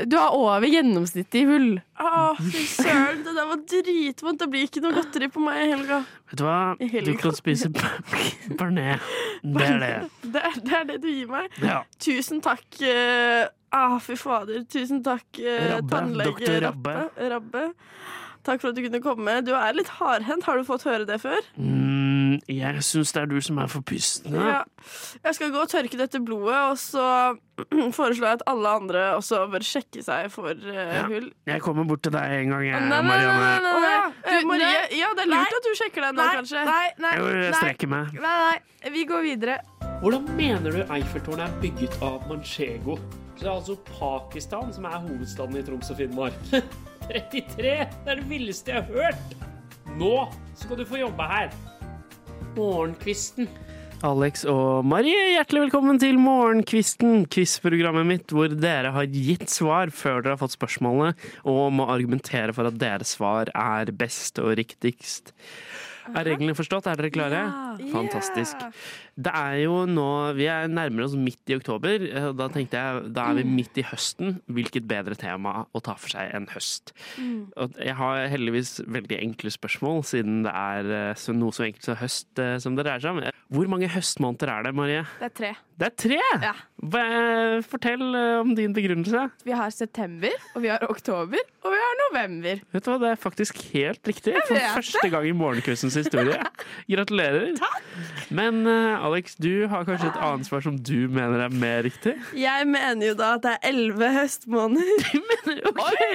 [SPEAKER 15] du har over gjennomsnittet i hull.
[SPEAKER 6] Å, fy søren. Det der var dritvondt. Det blir ikke noe godteri på meg i helga.
[SPEAKER 14] Vet du hva?
[SPEAKER 6] I helga.
[SPEAKER 14] Du kan spise bar- bearnés. Det er det.
[SPEAKER 6] Det er, det er det du gir meg.
[SPEAKER 14] Ja.
[SPEAKER 6] Tusen takk. eh, ah, fy fader. Tusen takk, eh,
[SPEAKER 14] Rabbe.
[SPEAKER 6] tannlege
[SPEAKER 14] Doktor
[SPEAKER 6] Rabbe.
[SPEAKER 14] Rabbe.
[SPEAKER 6] Rabbe. Takk for at du kunne komme. Du er litt hardhendt. Har du fått høre det før?
[SPEAKER 14] Mm, jeg syns det er du som er for pystende.
[SPEAKER 6] Ja. Jeg skal gå og tørke dette blodet, og så [clears throat] foreslår jeg at alle andre også bør sjekke seg for eh,
[SPEAKER 14] Ja.
[SPEAKER 6] hull.
[SPEAKER 14] Jeg kommer bort til deg en gang,
[SPEAKER 6] Nei,
[SPEAKER 14] jeg,
[SPEAKER 6] nei, nei, nei,
[SPEAKER 14] Marianne.
[SPEAKER 6] nei, nei.
[SPEAKER 15] Du,
[SPEAKER 6] Eh, Marie,
[SPEAKER 15] nei.
[SPEAKER 6] ja, det er lurt
[SPEAKER 15] Nei.
[SPEAKER 6] at du sjekker deg nå,
[SPEAKER 15] Nei,
[SPEAKER 6] kanskje.
[SPEAKER 15] nei, nei,
[SPEAKER 14] Jo, jeg
[SPEAKER 15] nei.
[SPEAKER 14] strekker meg.
[SPEAKER 15] Nei, nei, vi går videre.
[SPEAKER 18] Hvordan mener du Eiffeltårnet er bygget av manchego? Så det er altså Pakistan som er hovedstaden i Troms og Finnmark. [laughs] 33! Det er det villeste jeg har hørt! Nå skal du få jobbe her. Morgenkvisten.
[SPEAKER 14] Alex og Marie, hjertelig velkommen til Morgenkvisten, quizprogrammet mitt hvor dere har gitt svar før dere har fått spørsmålene, og må argumentere for at deres svar er best og riktigst. Er reglene forstått? Er dere klare?
[SPEAKER 18] Ja.
[SPEAKER 14] Fantastisk. Det er jo nå Vi er nærmere oss midt i oktober, eh, og da tenkte jeg da er vi midt i høsten. Hvilket bedre tema å ta for seg enn høst? Og jeg har heldigvis veldig enkle spørsmål, siden det er eh, så- noe så enkelt som høst eh, som det dreier seg om. Hvor mange høstmåneder er det, Marie?
[SPEAKER 15] Det er tre.
[SPEAKER 14] Det er tre! Hva- Fortell eh, om din begrunnelse.
[SPEAKER 15] Vi har september, og vi har oktober, og vi har november.
[SPEAKER 14] Vet du hva, Det er faktisk helt riktig for
[SPEAKER 15] vet
[SPEAKER 14] første gang i Morgenkvistens historie. Gratulerer. Men eh, Alex, du har kanskje et annet svar som du mener er mer riktig?
[SPEAKER 6] Jeg mener jo da at det er elleve høstmåneder.
[SPEAKER 14] Oi!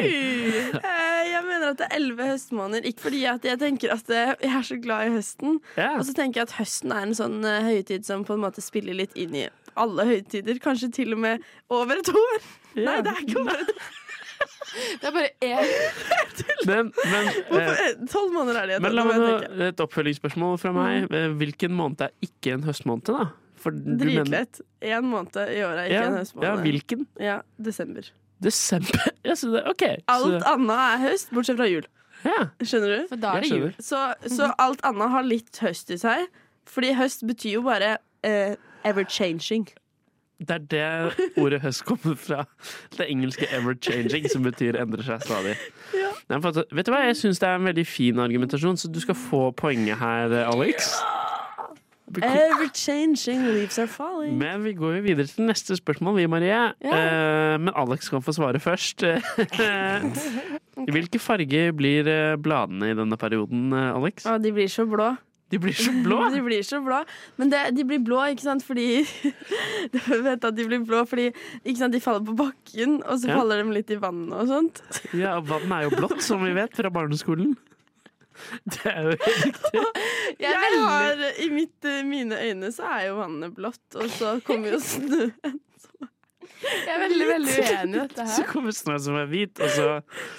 [SPEAKER 6] Eh, Jeg mener at det er elleve høstmåneder, ikke fordi at jeg tenker at eh, jeg er så glad i høsten.
[SPEAKER 14] Ja.
[SPEAKER 6] Og så tenker jeg at høsten er en sånn eh, høytid som på en måte spiller litt inn i alle høytider. Kanskje til og med over et år. Nei, det er ikke over et år.
[SPEAKER 15] Det er bare én.
[SPEAKER 14] Men, men, eh,
[SPEAKER 6] Hvorfor- Tolv måneder er det.
[SPEAKER 14] men
[SPEAKER 6] nå
[SPEAKER 14] la
[SPEAKER 6] må
[SPEAKER 14] meg
[SPEAKER 6] jeg Mm.
[SPEAKER 14] nå,
[SPEAKER 6] tenke.
[SPEAKER 14] et oppfølgingsspørsmål fra meg. Eh, Hvilken måned er ikke en høstmåned, da? For du mener-
[SPEAKER 6] Dritlett. Én måned i året er ikke
[SPEAKER 14] Ja,
[SPEAKER 6] en høstmåned.
[SPEAKER 14] ja, hvilken?
[SPEAKER 6] Ja, desember.
[SPEAKER 14] Desember? [laughs] Ja, så det, OK. så
[SPEAKER 6] Alt
[SPEAKER 14] det-
[SPEAKER 6] annet er høst, bortsett fra jul. Skjønner du?
[SPEAKER 14] da er Jeg det jul. skjønner.
[SPEAKER 6] Så, så alt annet har litt høst i seg. Fordi høst betyr jo bare eh, ever-changing.
[SPEAKER 14] Det er det ordet høst kommer fra. Det engelske 'ever changing', som betyr endrer seg stadig. Nei, for at- vet du hva, Jeg syns det er en veldig fin argumentasjon, så du skal få poenget her, Alex.
[SPEAKER 6] Ever-changing leaves are falling.
[SPEAKER 14] Men vi går jo videre til neste spørsmål, vi, Marie. Eh, Men Alex kan få svare først. [laughs] I Hvilke farger blir eh, bladene i denne perioden, eh, Alex?
[SPEAKER 6] Å, de blir så blå.
[SPEAKER 14] De blir så blå!
[SPEAKER 6] Ah. [laughs] de blir så blå. Men det, de blir blå, ikke sant, fordi [laughs] Du vet at de blir blå fordi ikke sant? de faller på bakken, og så
[SPEAKER 14] Ja.
[SPEAKER 6] faller de litt i vannet og sånt.
[SPEAKER 14] Ja, Vann er jo blått, som vi vet fra barneskolen. [laughs] Det er jo helt riktig.
[SPEAKER 6] Jeg har, I mitt, eh, mine øyne så er jo vannet blått, og så kommer
[SPEAKER 15] [laughs]
[SPEAKER 6] jo snøen.
[SPEAKER 15] Jeg er veldig, veldig uenig i dette
[SPEAKER 14] Så
[SPEAKER 15] her.
[SPEAKER 14] kommer snø som er hvit, og så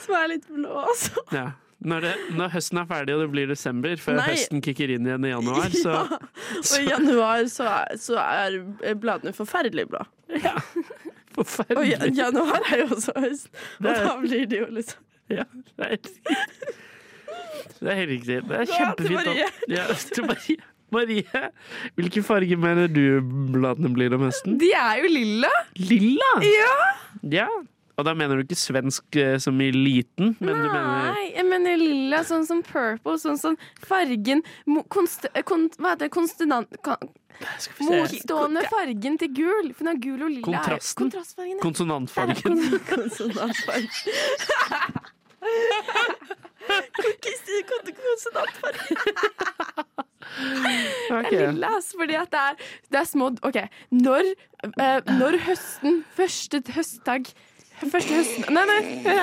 [SPEAKER 6] Som er litt blå, altså.
[SPEAKER 14] Ja. Når, det, når høsten er ferdig og det blir desember, før
[SPEAKER 6] Nei.
[SPEAKER 14] høsten kicker inn igjen i januar, så
[SPEAKER 6] [laughs] Ja. Og i januar så er, så er bladene forferdelig blå. Og
[SPEAKER 14] forferdelig.
[SPEAKER 6] ja- januar er jo også høst, og
[SPEAKER 14] Det er-
[SPEAKER 6] da blir det jo liksom
[SPEAKER 14] [laughs] Ja, det er helt riktig. Det er helt riktig. Det er
[SPEAKER 6] Ja, til
[SPEAKER 14] kjempefint.
[SPEAKER 6] Marie.
[SPEAKER 14] at- Ja, til Marie. Marie, hvilke farger mener du bladene blir om høsten?
[SPEAKER 15] De er jo lilla.
[SPEAKER 14] Lilla?
[SPEAKER 15] Ja.
[SPEAKER 14] Ja. Og da mener du ikke svensk eh, som i liten, men du mener
[SPEAKER 15] Nei, jeg mener lilla, sånn som purple, sånn som fargen mo- konst, eh, kon, Hva heter det? Konstinant... Kan,
[SPEAKER 14] vi se.
[SPEAKER 15] motstående fargen til gul. For nå er gul og lilla er-
[SPEAKER 14] Kontrasten.
[SPEAKER 15] Kontrastfargen, ja.
[SPEAKER 14] konsonantfargen.
[SPEAKER 6] konsonantfargen. Kristin, kon- konsonantfargen.
[SPEAKER 15] Det er lilla, ass, fordi at det er, det er små OK. Når, eh, når høsten, første høstdag
[SPEAKER 6] Første høsten Nei, nei.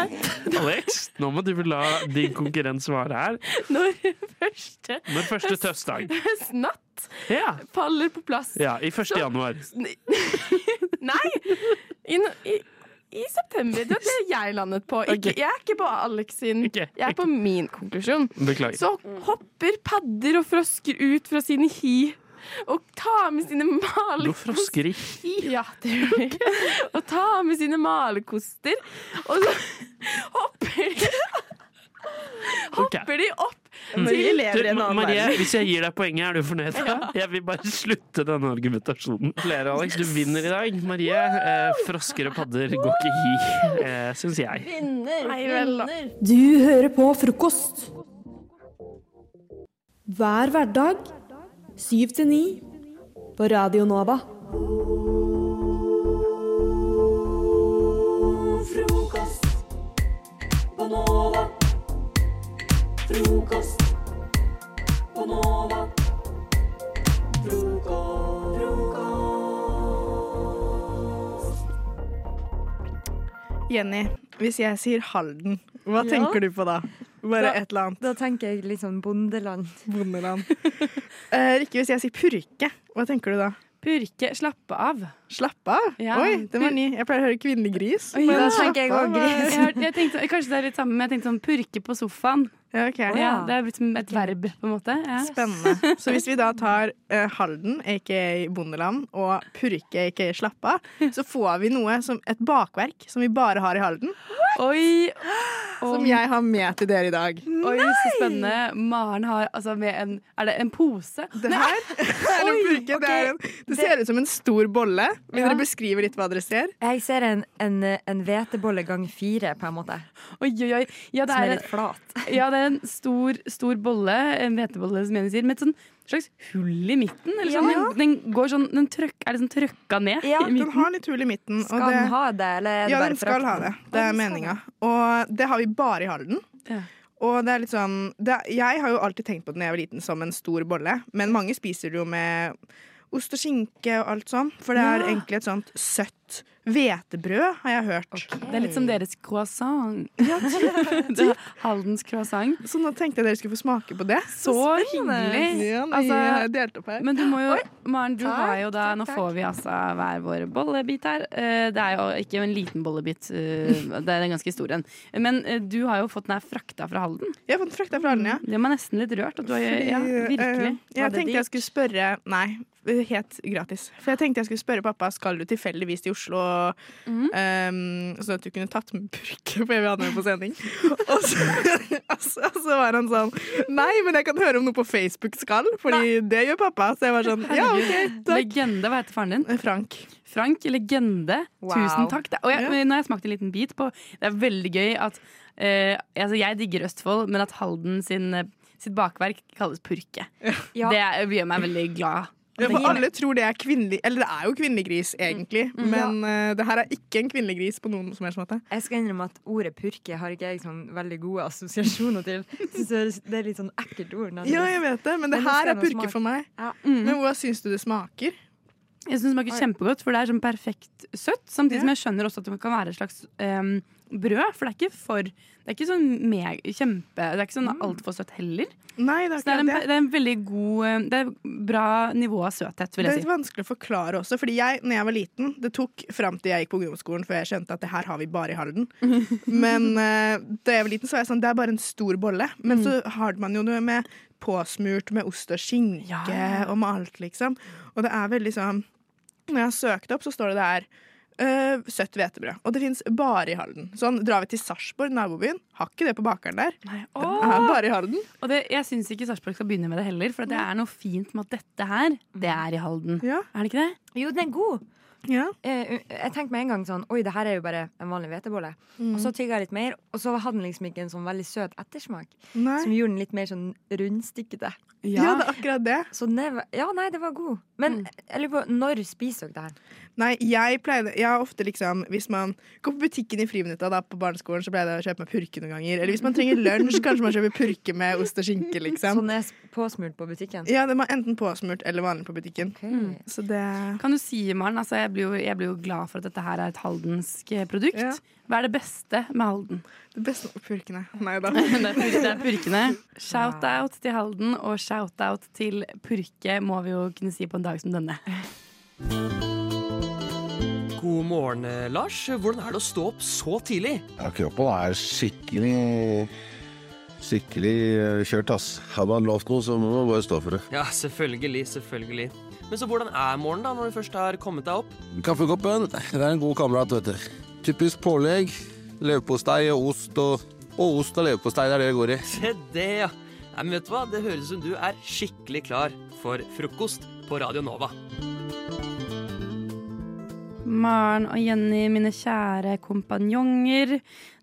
[SPEAKER 14] Alex, nå må du vel la din konkurrent svare her.
[SPEAKER 6] Når første
[SPEAKER 14] Når første tøstdag.
[SPEAKER 6] Høstnatt
[SPEAKER 14] Ja,
[SPEAKER 6] faller på plass.
[SPEAKER 14] ja i 1. januar.
[SPEAKER 6] Nei! I, no- i, i september. Det var det jeg landet på. Ikke, Jeg er ikke på Alex sin. Jeg er på min konklusjon.
[SPEAKER 14] Beklager.
[SPEAKER 6] Så hopper padder og frosker ut fra sine hi og tar med sine
[SPEAKER 14] Går
[SPEAKER 6] malekos...
[SPEAKER 14] frosker i
[SPEAKER 6] Ja, det gjør de. Og tar med sine malekoster, og så hopper de Hopper de opp
[SPEAKER 14] Mm.
[SPEAKER 6] til
[SPEAKER 14] Du, Ma- Marie, hvis jeg gir deg poenget, er du fornøyd? da? [laughs] Jeg vil bare slutte denne argumentasjonen. Flere, Alex. Du vinner i dag. Marie, eh, frosker og padder går ikke hi, eh, syns jeg.
[SPEAKER 6] Vinner!
[SPEAKER 19] Du hører på frokost. Hver hverdag 7 til 9 på Radio Nova.
[SPEAKER 1] Frokost på Nova. Frokost på Nova. Frokost.
[SPEAKER 20] Jenny, hvis jeg sier Halden, hva
[SPEAKER 5] Ja.
[SPEAKER 20] tenker du på da? Bare
[SPEAKER 5] Da-
[SPEAKER 20] et eller annet.
[SPEAKER 5] Da tenker jeg litt sånn bondeland.
[SPEAKER 20] Bondeland. Eh, Rikke, hvis jeg sier Purke, hva tenker du da?
[SPEAKER 6] Purke, slappe av.
[SPEAKER 20] Slappe av?
[SPEAKER 3] Ja.
[SPEAKER 20] Oi, den var ny. Jeg pleier å høre kvinnelig gris.
[SPEAKER 3] Oi, da tenker
[SPEAKER 20] slappe
[SPEAKER 3] jeg også
[SPEAKER 20] av er-
[SPEAKER 3] gris. Jeg, har- jeg tenkte, kanskje det er litt samme, men jeg tenkte sånn purke på sofaen.
[SPEAKER 20] Ja, ok.
[SPEAKER 3] ja, det er blitt som et verb, på en måte. Ja.
[SPEAKER 20] Spennende. Så hvis vi da tar eh, Halden, aka Bondeland, og Purke, aka Slappa, så får vi noe som et bakverk som vi bare har i Halden.
[SPEAKER 3] Oi!
[SPEAKER 20] [gasps] Som jeg har med til dere i dag.
[SPEAKER 3] Oi, så spennende. Maren har altså med en Er det en pose?
[SPEAKER 20] Det
[SPEAKER 3] Nei,
[SPEAKER 20] her er en purke. Det, er en, det ser ut som en stor bolle. Vil
[SPEAKER 5] Ja.
[SPEAKER 20] dere beskrive litt hva dere ser?
[SPEAKER 5] Jeg ser en, en, en hvetebolle gang fire, på en måte.
[SPEAKER 3] Oi, oi, oi. Ja, det
[SPEAKER 5] som
[SPEAKER 3] er
[SPEAKER 5] er
[SPEAKER 3] en-
[SPEAKER 5] litt flat.
[SPEAKER 3] Ja, det er en stor, stor bolle, en hvetebolle, som Jenny sier, med et sånn slags hull i midten. Eller sånn.
[SPEAKER 20] Ja.
[SPEAKER 3] Den, den går sånn, den trøkk, er liksom trøkka ned
[SPEAKER 20] Ja,
[SPEAKER 3] i midten.
[SPEAKER 20] den har litt hull i midten. og
[SPEAKER 3] Skal den ha det, eller er det
[SPEAKER 20] Ja,
[SPEAKER 3] bare
[SPEAKER 20] den
[SPEAKER 3] for
[SPEAKER 20] skal
[SPEAKER 3] at-
[SPEAKER 20] ha det. Det er meninga. Og det har vi bare i Halden. Og det er litt sånn det er, Jeg har jo alltid tenkt på den da jeg var liten som en stor bolle, men mange spiser det jo med ost og skinke og alt sånn, for det er
[SPEAKER 3] Ja.
[SPEAKER 20] egentlig et sånt søtt hvetebrød, har jeg hørt.
[SPEAKER 3] Det er litt som deres croissant. [laughs]
[SPEAKER 20] det er Haldens croissant. Så nå tenkte jeg dere skulle få smake på det.
[SPEAKER 3] Så hyggelig!
[SPEAKER 20] Ja, nei,
[SPEAKER 3] Altså,
[SPEAKER 20] jeg delte opp her.
[SPEAKER 3] men du må jo, Maren, du
[SPEAKER 20] Takk,
[SPEAKER 3] har jo da Nå
[SPEAKER 20] takk,
[SPEAKER 3] får vi altså hver vår bollebit her. Eh, Det er jo ikke en liten bollebit, eh, det er en ganske stor en. Men eh, du har jo fått den her frakta fra Halden. Mm,
[SPEAKER 20] Jeg har fått den frakta fra Halden, ja.
[SPEAKER 3] Det var nesten litt rørt. At du har, ja,
[SPEAKER 20] Fordi,
[SPEAKER 3] virkelig.
[SPEAKER 20] eh, jeg tenkte jeg skulle spørre Nei, helt gratis. For jeg tenkte jeg skulle spørre pappa Skal du tilfeldigvis til Oslo,
[SPEAKER 3] Mm.
[SPEAKER 20] eh, sånn at du kunne tatt med purke, for jeg vil ha den med på sending. [laughs] og, så, altså, så var han sånn Nei, men jeg kan høre om noe på Facebook skal, Fordi det gjør pappa. Så jeg var sånn Ja, OK, takk. Eh,
[SPEAKER 3] Legende, hva heter faren din?
[SPEAKER 20] Frank.
[SPEAKER 3] Frank, legende.
[SPEAKER 20] Wow.
[SPEAKER 3] Tusen takk. Det, og jeg,
[SPEAKER 20] Ja.
[SPEAKER 3] men Nå har jeg smakt en liten bit på Det er veldig gøy at eh, altså Jeg digger Østfold, men at Halden sin, eh, sitt bakverk kalles purke. Det er- gjør meg veldig glad.
[SPEAKER 20] Ja, for alle tror det er kvinnelig Eller det er jo kvinnelig gris, egentlig,
[SPEAKER 3] Mm.
[SPEAKER 20] men eh, det her er ikke en kvinnelig gris på noen som helst måte.
[SPEAKER 5] Jeg skal innrømme at ordet purke har ikke jeg sånn veldig gode assosiasjoner til. Jeg synes det høres- det liksom- er litt sånn ekkelt ord. nærmest.
[SPEAKER 20] Ja, jeg vet det, men det
[SPEAKER 5] Men nå
[SPEAKER 20] her
[SPEAKER 5] skal
[SPEAKER 20] er
[SPEAKER 5] jeg nå
[SPEAKER 20] purke
[SPEAKER 5] smake.
[SPEAKER 20] for meg.
[SPEAKER 5] Ja.
[SPEAKER 3] Mm.
[SPEAKER 20] Men hva syns du det smaker?
[SPEAKER 3] Jeg synes det smaker kjempegodt, for det er sånn perfekt søtt. Samtidig som jeg skjønner også at det kan være et slags em, brød, for det er ikke for Det er ikke sånn meg, kjempe Det er ikke sånn altfor søtt heller.
[SPEAKER 20] Mm. Nei, det er
[SPEAKER 3] Så det er, en,
[SPEAKER 20] akkurat det.
[SPEAKER 3] det er en veldig god eh, Det er bra nivå av søthet, vil
[SPEAKER 20] Det er
[SPEAKER 3] jeg
[SPEAKER 20] litt
[SPEAKER 3] si.
[SPEAKER 20] vanskelig å forklare også, fordi jeg, når jeg var liten, det tok fram til jeg gikk på ungdomsskolen før jeg skjønte at det her har vi bare i Halden. Men eh, da jeg var liten, så var jeg sånn, det er bare en stor bolle. Men så har man jo noe med påsmurt med ost og skinke og med alt, liksom. Og det er veldig sånn Når jeg søkte opp, så står det der eh, søtt hvetebrød. Og det fins bare i Halden. Sånn, drar vi til Sarpsborg, nabobyen, har ikke det på bakeren der. [laughs] Det er bare i Halden.
[SPEAKER 3] Og det, jeg syns ikke Sarpsborg skal begynne med det heller, for det er noe fint med at dette her, det
[SPEAKER 20] Mm.
[SPEAKER 3] er i Halden. Er det ikke det?
[SPEAKER 5] Jo, den er god.
[SPEAKER 20] Ja.
[SPEAKER 5] Eh, jeg tenkte med en gang sånn Oi, det her er jo bare en vanlig hvetebolle.
[SPEAKER 3] Mm.
[SPEAKER 5] Og så tygga jeg litt mer, og så hadde den liksom ikke en sånn veldig søt ettersmak.
[SPEAKER 20] Nei.
[SPEAKER 5] Som gjorde den litt mer sånn rundstykkete.
[SPEAKER 20] Ja. Ja, det er akkurat det.
[SPEAKER 5] Så den er, ja, nei, det var god. Men jeg lurer på, når spiser dere det her?
[SPEAKER 20] Nei, jeg pleide Jeg har ofte liksom Hvis man går på butikken i friminutta da, på barneskolen, så pleide jeg å kjøpe meg purke noen ganger. Eller hvis man trenger lunsj, kanskje man kjøper purke med ost og skinke, liksom.
[SPEAKER 5] Sånn er påsmurt på butikken?
[SPEAKER 20] Ja, det var enten påsmurt eller vanlig på butikken. Så det
[SPEAKER 3] Kan du si, Maren, altså jeg, blir jo, jeg blir jo glad for at dette her er et haldensk eh, produkt.
[SPEAKER 20] Ja.
[SPEAKER 3] Hva er det beste med Halden?
[SPEAKER 20] Det beste med purkene. Nei
[SPEAKER 3] [laughs]
[SPEAKER 20] da.
[SPEAKER 3] det er pur- det er purkene. Shout-out til Halden, og shout-out til purke, må vi jo kunne si på en dag som denne.
[SPEAKER 21] God morgen, eh, Lars. Hvordan er det å stå opp så tidlig?
[SPEAKER 22] Ja, kroppen er skikkelig Skikkelig eh, kjørt, ass. Har man lovt noe, så må man bare stå for det.
[SPEAKER 21] Ja, selvfølgelig, selvfølgelig. Men så hvordan er morgenen da, når du først har kommet deg opp?
[SPEAKER 22] Kaffekoppen, det er en god kamerat, vet du. Typisk pålegg. Leverpostei og ost og Og ost og leverpostei, det er det det går i.
[SPEAKER 21] Se det, ja. Nei, men vet du hva? Det høres ut som du er skikkelig klar for frokost på Radio Nova.
[SPEAKER 3] Maren og Jenny, mine kjære kompanjonger.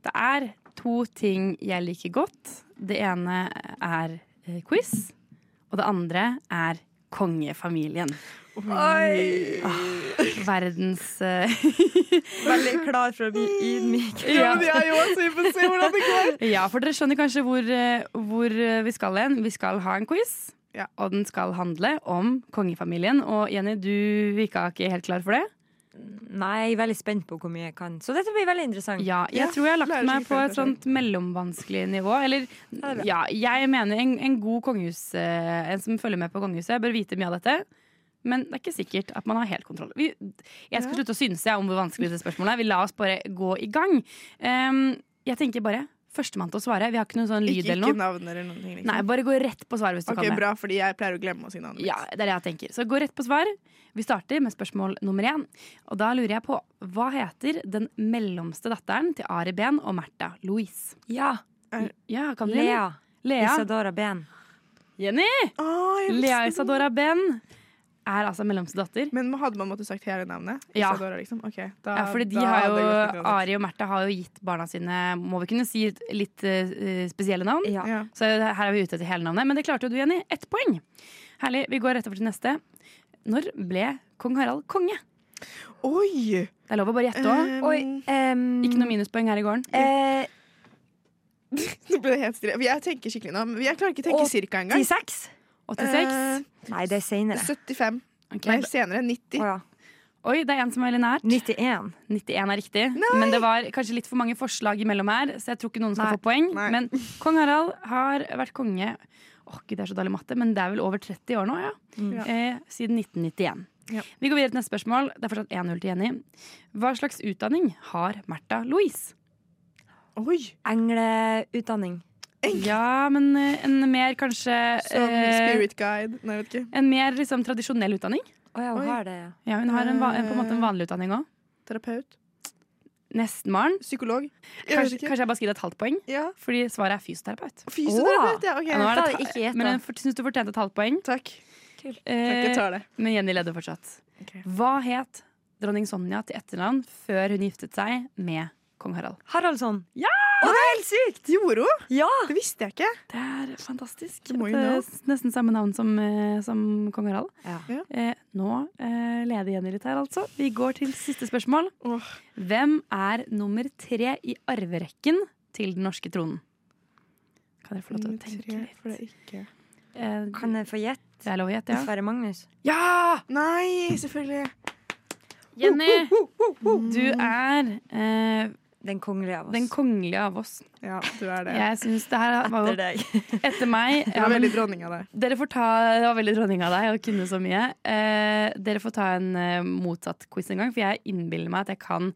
[SPEAKER 3] Det er to ting jeg liker godt. Det ene er eh, quiz, og det andre er kongefamilien.
[SPEAKER 10] Oi.
[SPEAKER 3] Ah, verdens eh,
[SPEAKER 10] [laughs] Veldig klar for å bli
[SPEAKER 5] [laughs]
[SPEAKER 10] ydmyk. Ja, men jeg er jo også vi får se hvordan det går.
[SPEAKER 3] Ja, for dere skjønner kanskje hvor, eh, hvor eh, vi skal hen. Vi skal ha en quiz, og den skal handle om kongefamilien. Og Jenny, du virka ikke helt klar for det?
[SPEAKER 5] Nei, jeg er veldig spent på hvor mye jeg kan. Så dette blir veldig interessant.
[SPEAKER 3] Ja, jeg tror jeg har lagt meg på et sånt mellomvanskelig nivå. Eller ja, jeg mener en, en god kongehus eh, En som følger med på kongehuset, bør vite mye av dette. Men det er ikke sikkert at man har helt kontroll. Vi, jeg skal
[SPEAKER 6] Ja.
[SPEAKER 3] slutte å synse jeg, om hvor vanskelig dette spørsmålet er. Vi la oss bare gå i gang. Ehm, jeg tenker bare førstemann til å svare. Vi har ikke noen sånn lyd
[SPEAKER 20] Ikke,
[SPEAKER 3] eller noe.
[SPEAKER 20] ikke navn eller noen ting. Liksom.
[SPEAKER 3] Nei, bare gå rett på svar hvis du
[SPEAKER 20] Ok,
[SPEAKER 3] kan det.
[SPEAKER 20] Bra, fordi jeg pleier å glemme å si navnet mitt.
[SPEAKER 3] Ja, det er det jeg tenker. Så gå rett på svar. Vi starter med spørsmål nummer én. Og da lurer jeg på hva heter den mellomste datteren til Ari Behn og Märtha Louise?
[SPEAKER 5] Ja.
[SPEAKER 3] ja kan dere
[SPEAKER 5] Lea.
[SPEAKER 3] det? Lea.
[SPEAKER 5] Isadora Behn.
[SPEAKER 3] Jenny!
[SPEAKER 20] jeg
[SPEAKER 3] Lea
[SPEAKER 20] visste det.
[SPEAKER 3] Isadora Behn er altså mellomste datter.
[SPEAKER 20] Men hadde man måttet sagt hele navnet?
[SPEAKER 3] Ja.
[SPEAKER 20] Isadora, liksom? Ok, da,
[SPEAKER 3] ja, fordi de
[SPEAKER 20] da
[SPEAKER 3] har
[SPEAKER 20] hadde
[SPEAKER 3] jo,
[SPEAKER 20] jeg gått litt uansett.
[SPEAKER 3] Ari og Märtha har jo gitt barna sine må vi kunne si, litt eh, spesielle navn. Så her er vi ute etter hele navnet. Men det klarte jo du, Jenny. Ett poeng. Herlig. Vi går rett over til neste. Når ble kong Harald konge?
[SPEAKER 20] Oi!
[SPEAKER 3] Det er lov å bare gjette òg.
[SPEAKER 5] Um, Oi,
[SPEAKER 3] Ikke noe minuspoeng her i gården.
[SPEAKER 5] eh,
[SPEAKER 20] Nå ble det helt stille. Jeg tenker skikkelig nå. men Jeg klarer ikke å tenke cirka engang.
[SPEAKER 5] 86? eh,
[SPEAKER 3] 86?
[SPEAKER 5] Nei, det er senere.
[SPEAKER 20] 75.
[SPEAKER 3] Ok.
[SPEAKER 20] Nei, senere. 90.
[SPEAKER 3] Oi, det er en som er veldig nært.
[SPEAKER 5] 91.
[SPEAKER 3] 91 er riktig, men det var kanskje litt for mange forslag imellom her, så jeg tror ikke noen skal
[SPEAKER 5] Nei.
[SPEAKER 3] få poeng.
[SPEAKER 5] Nei.
[SPEAKER 3] Men kong Harald har vært konge Åh, gud, det er så dårlig matte, men det er vel over 30 år nå, ja.
[SPEAKER 5] Mm. Ja.
[SPEAKER 3] Eh, siden 1991.
[SPEAKER 5] Ja.
[SPEAKER 3] Vi går videre til neste spørsmål. Det er fortsatt 1-0 til Jenny. Hva slags utdanning har Märtha Louise?
[SPEAKER 20] Oi!
[SPEAKER 5] Engleutdanning.
[SPEAKER 3] Ja, men eh, en mer kanskje
[SPEAKER 20] Som
[SPEAKER 3] eh,
[SPEAKER 20] spirit guide. Nei, jeg vet ikke.
[SPEAKER 3] En mer liksom, tradisjonell utdanning.
[SPEAKER 5] Å ja,
[SPEAKER 20] Oi.
[SPEAKER 5] hun har det, ja.
[SPEAKER 3] Ja, hun har en, va- en, på en måte en vanlig utdanning òg.
[SPEAKER 20] Terapeut.
[SPEAKER 3] Nesten, Maren.
[SPEAKER 20] Psykolog. Jeg vet
[SPEAKER 3] Kanskje,
[SPEAKER 20] ikke.
[SPEAKER 3] kanskje jeg bare skal gi deg et halvt poeng, fordi svaret er fysioterapeut.
[SPEAKER 20] Fysioterapeut, ja, ok.
[SPEAKER 3] nå er det
[SPEAKER 20] Da hadde jeg ikke gjettet.
[SPEAKER 3] men jeg syns du fortjente et halvt poeng.
[SPEAKER 20] Takk.
[SPEAKER 3] Eh,
[SPEAKER 20] jeg tar det.
[SPEAKER 3] Men Jenny leder fortsatt. Hva het dronning Sonja til etternavn før hun giftet seg med kong Harald?
[SPEAKER 5] Haraldsson.
[SPEAKER 3] Ja!
[SPEAKER 5] Å, det er helt sykt!
[SPEAKER 20] Gjorde hun?
[SPEAKER 5] Ja.
[SPEAKER 20] Det visste jeg ikke.
[SPEAKER 3] Det er fantastisk.
[SPEAKER 5] Det må jo
[SPEAKER 3] Det er
[SPEAKER 5] nå.
[SPEAKER 3] s- nesten samme navn som, eh, som kong Harald.
[SPEAKER 5] Ja.
[SPEAKER 3] Eh, nå eh, leder Jenny litt her, altså. Vi går til siste spørsmål. Hvem er nummer tre i arverekken til den norske tronen? Kan dere få lov til å tenke litt? Eh,
[SPEAKER 5] Kan jeg få gjett?
[SPEAKER 3] Det er lov å gjette, ja.
[SPEAKER 5] Sverre Magnus.
[SPEAKER 3] Ja!
[SPEAKER 20] Nei, selvfølgelig.
[SPEAKER 3] Jenny, du er eh,
[SPEAKER 5] den kongelige av oss.
[SPEAKER 3] Den kongelige av oss.
[SPEAKER 20] Ja, du er det.
[SPEAKER 3] Jeg synes det her var jo
[SPEAKER 5] Etter deg.
[SPEAKER 3] Etter meg.
[SPEAKER 20] [laughs] Det var veldig dronning av deg.
[SPEAKER 3] Dere får ta, det var veldig dronning av deg å kunne så mye. Eh, dere får ta en eh, motsatt quiz en gang, for jeg innbiller meg at jeg kan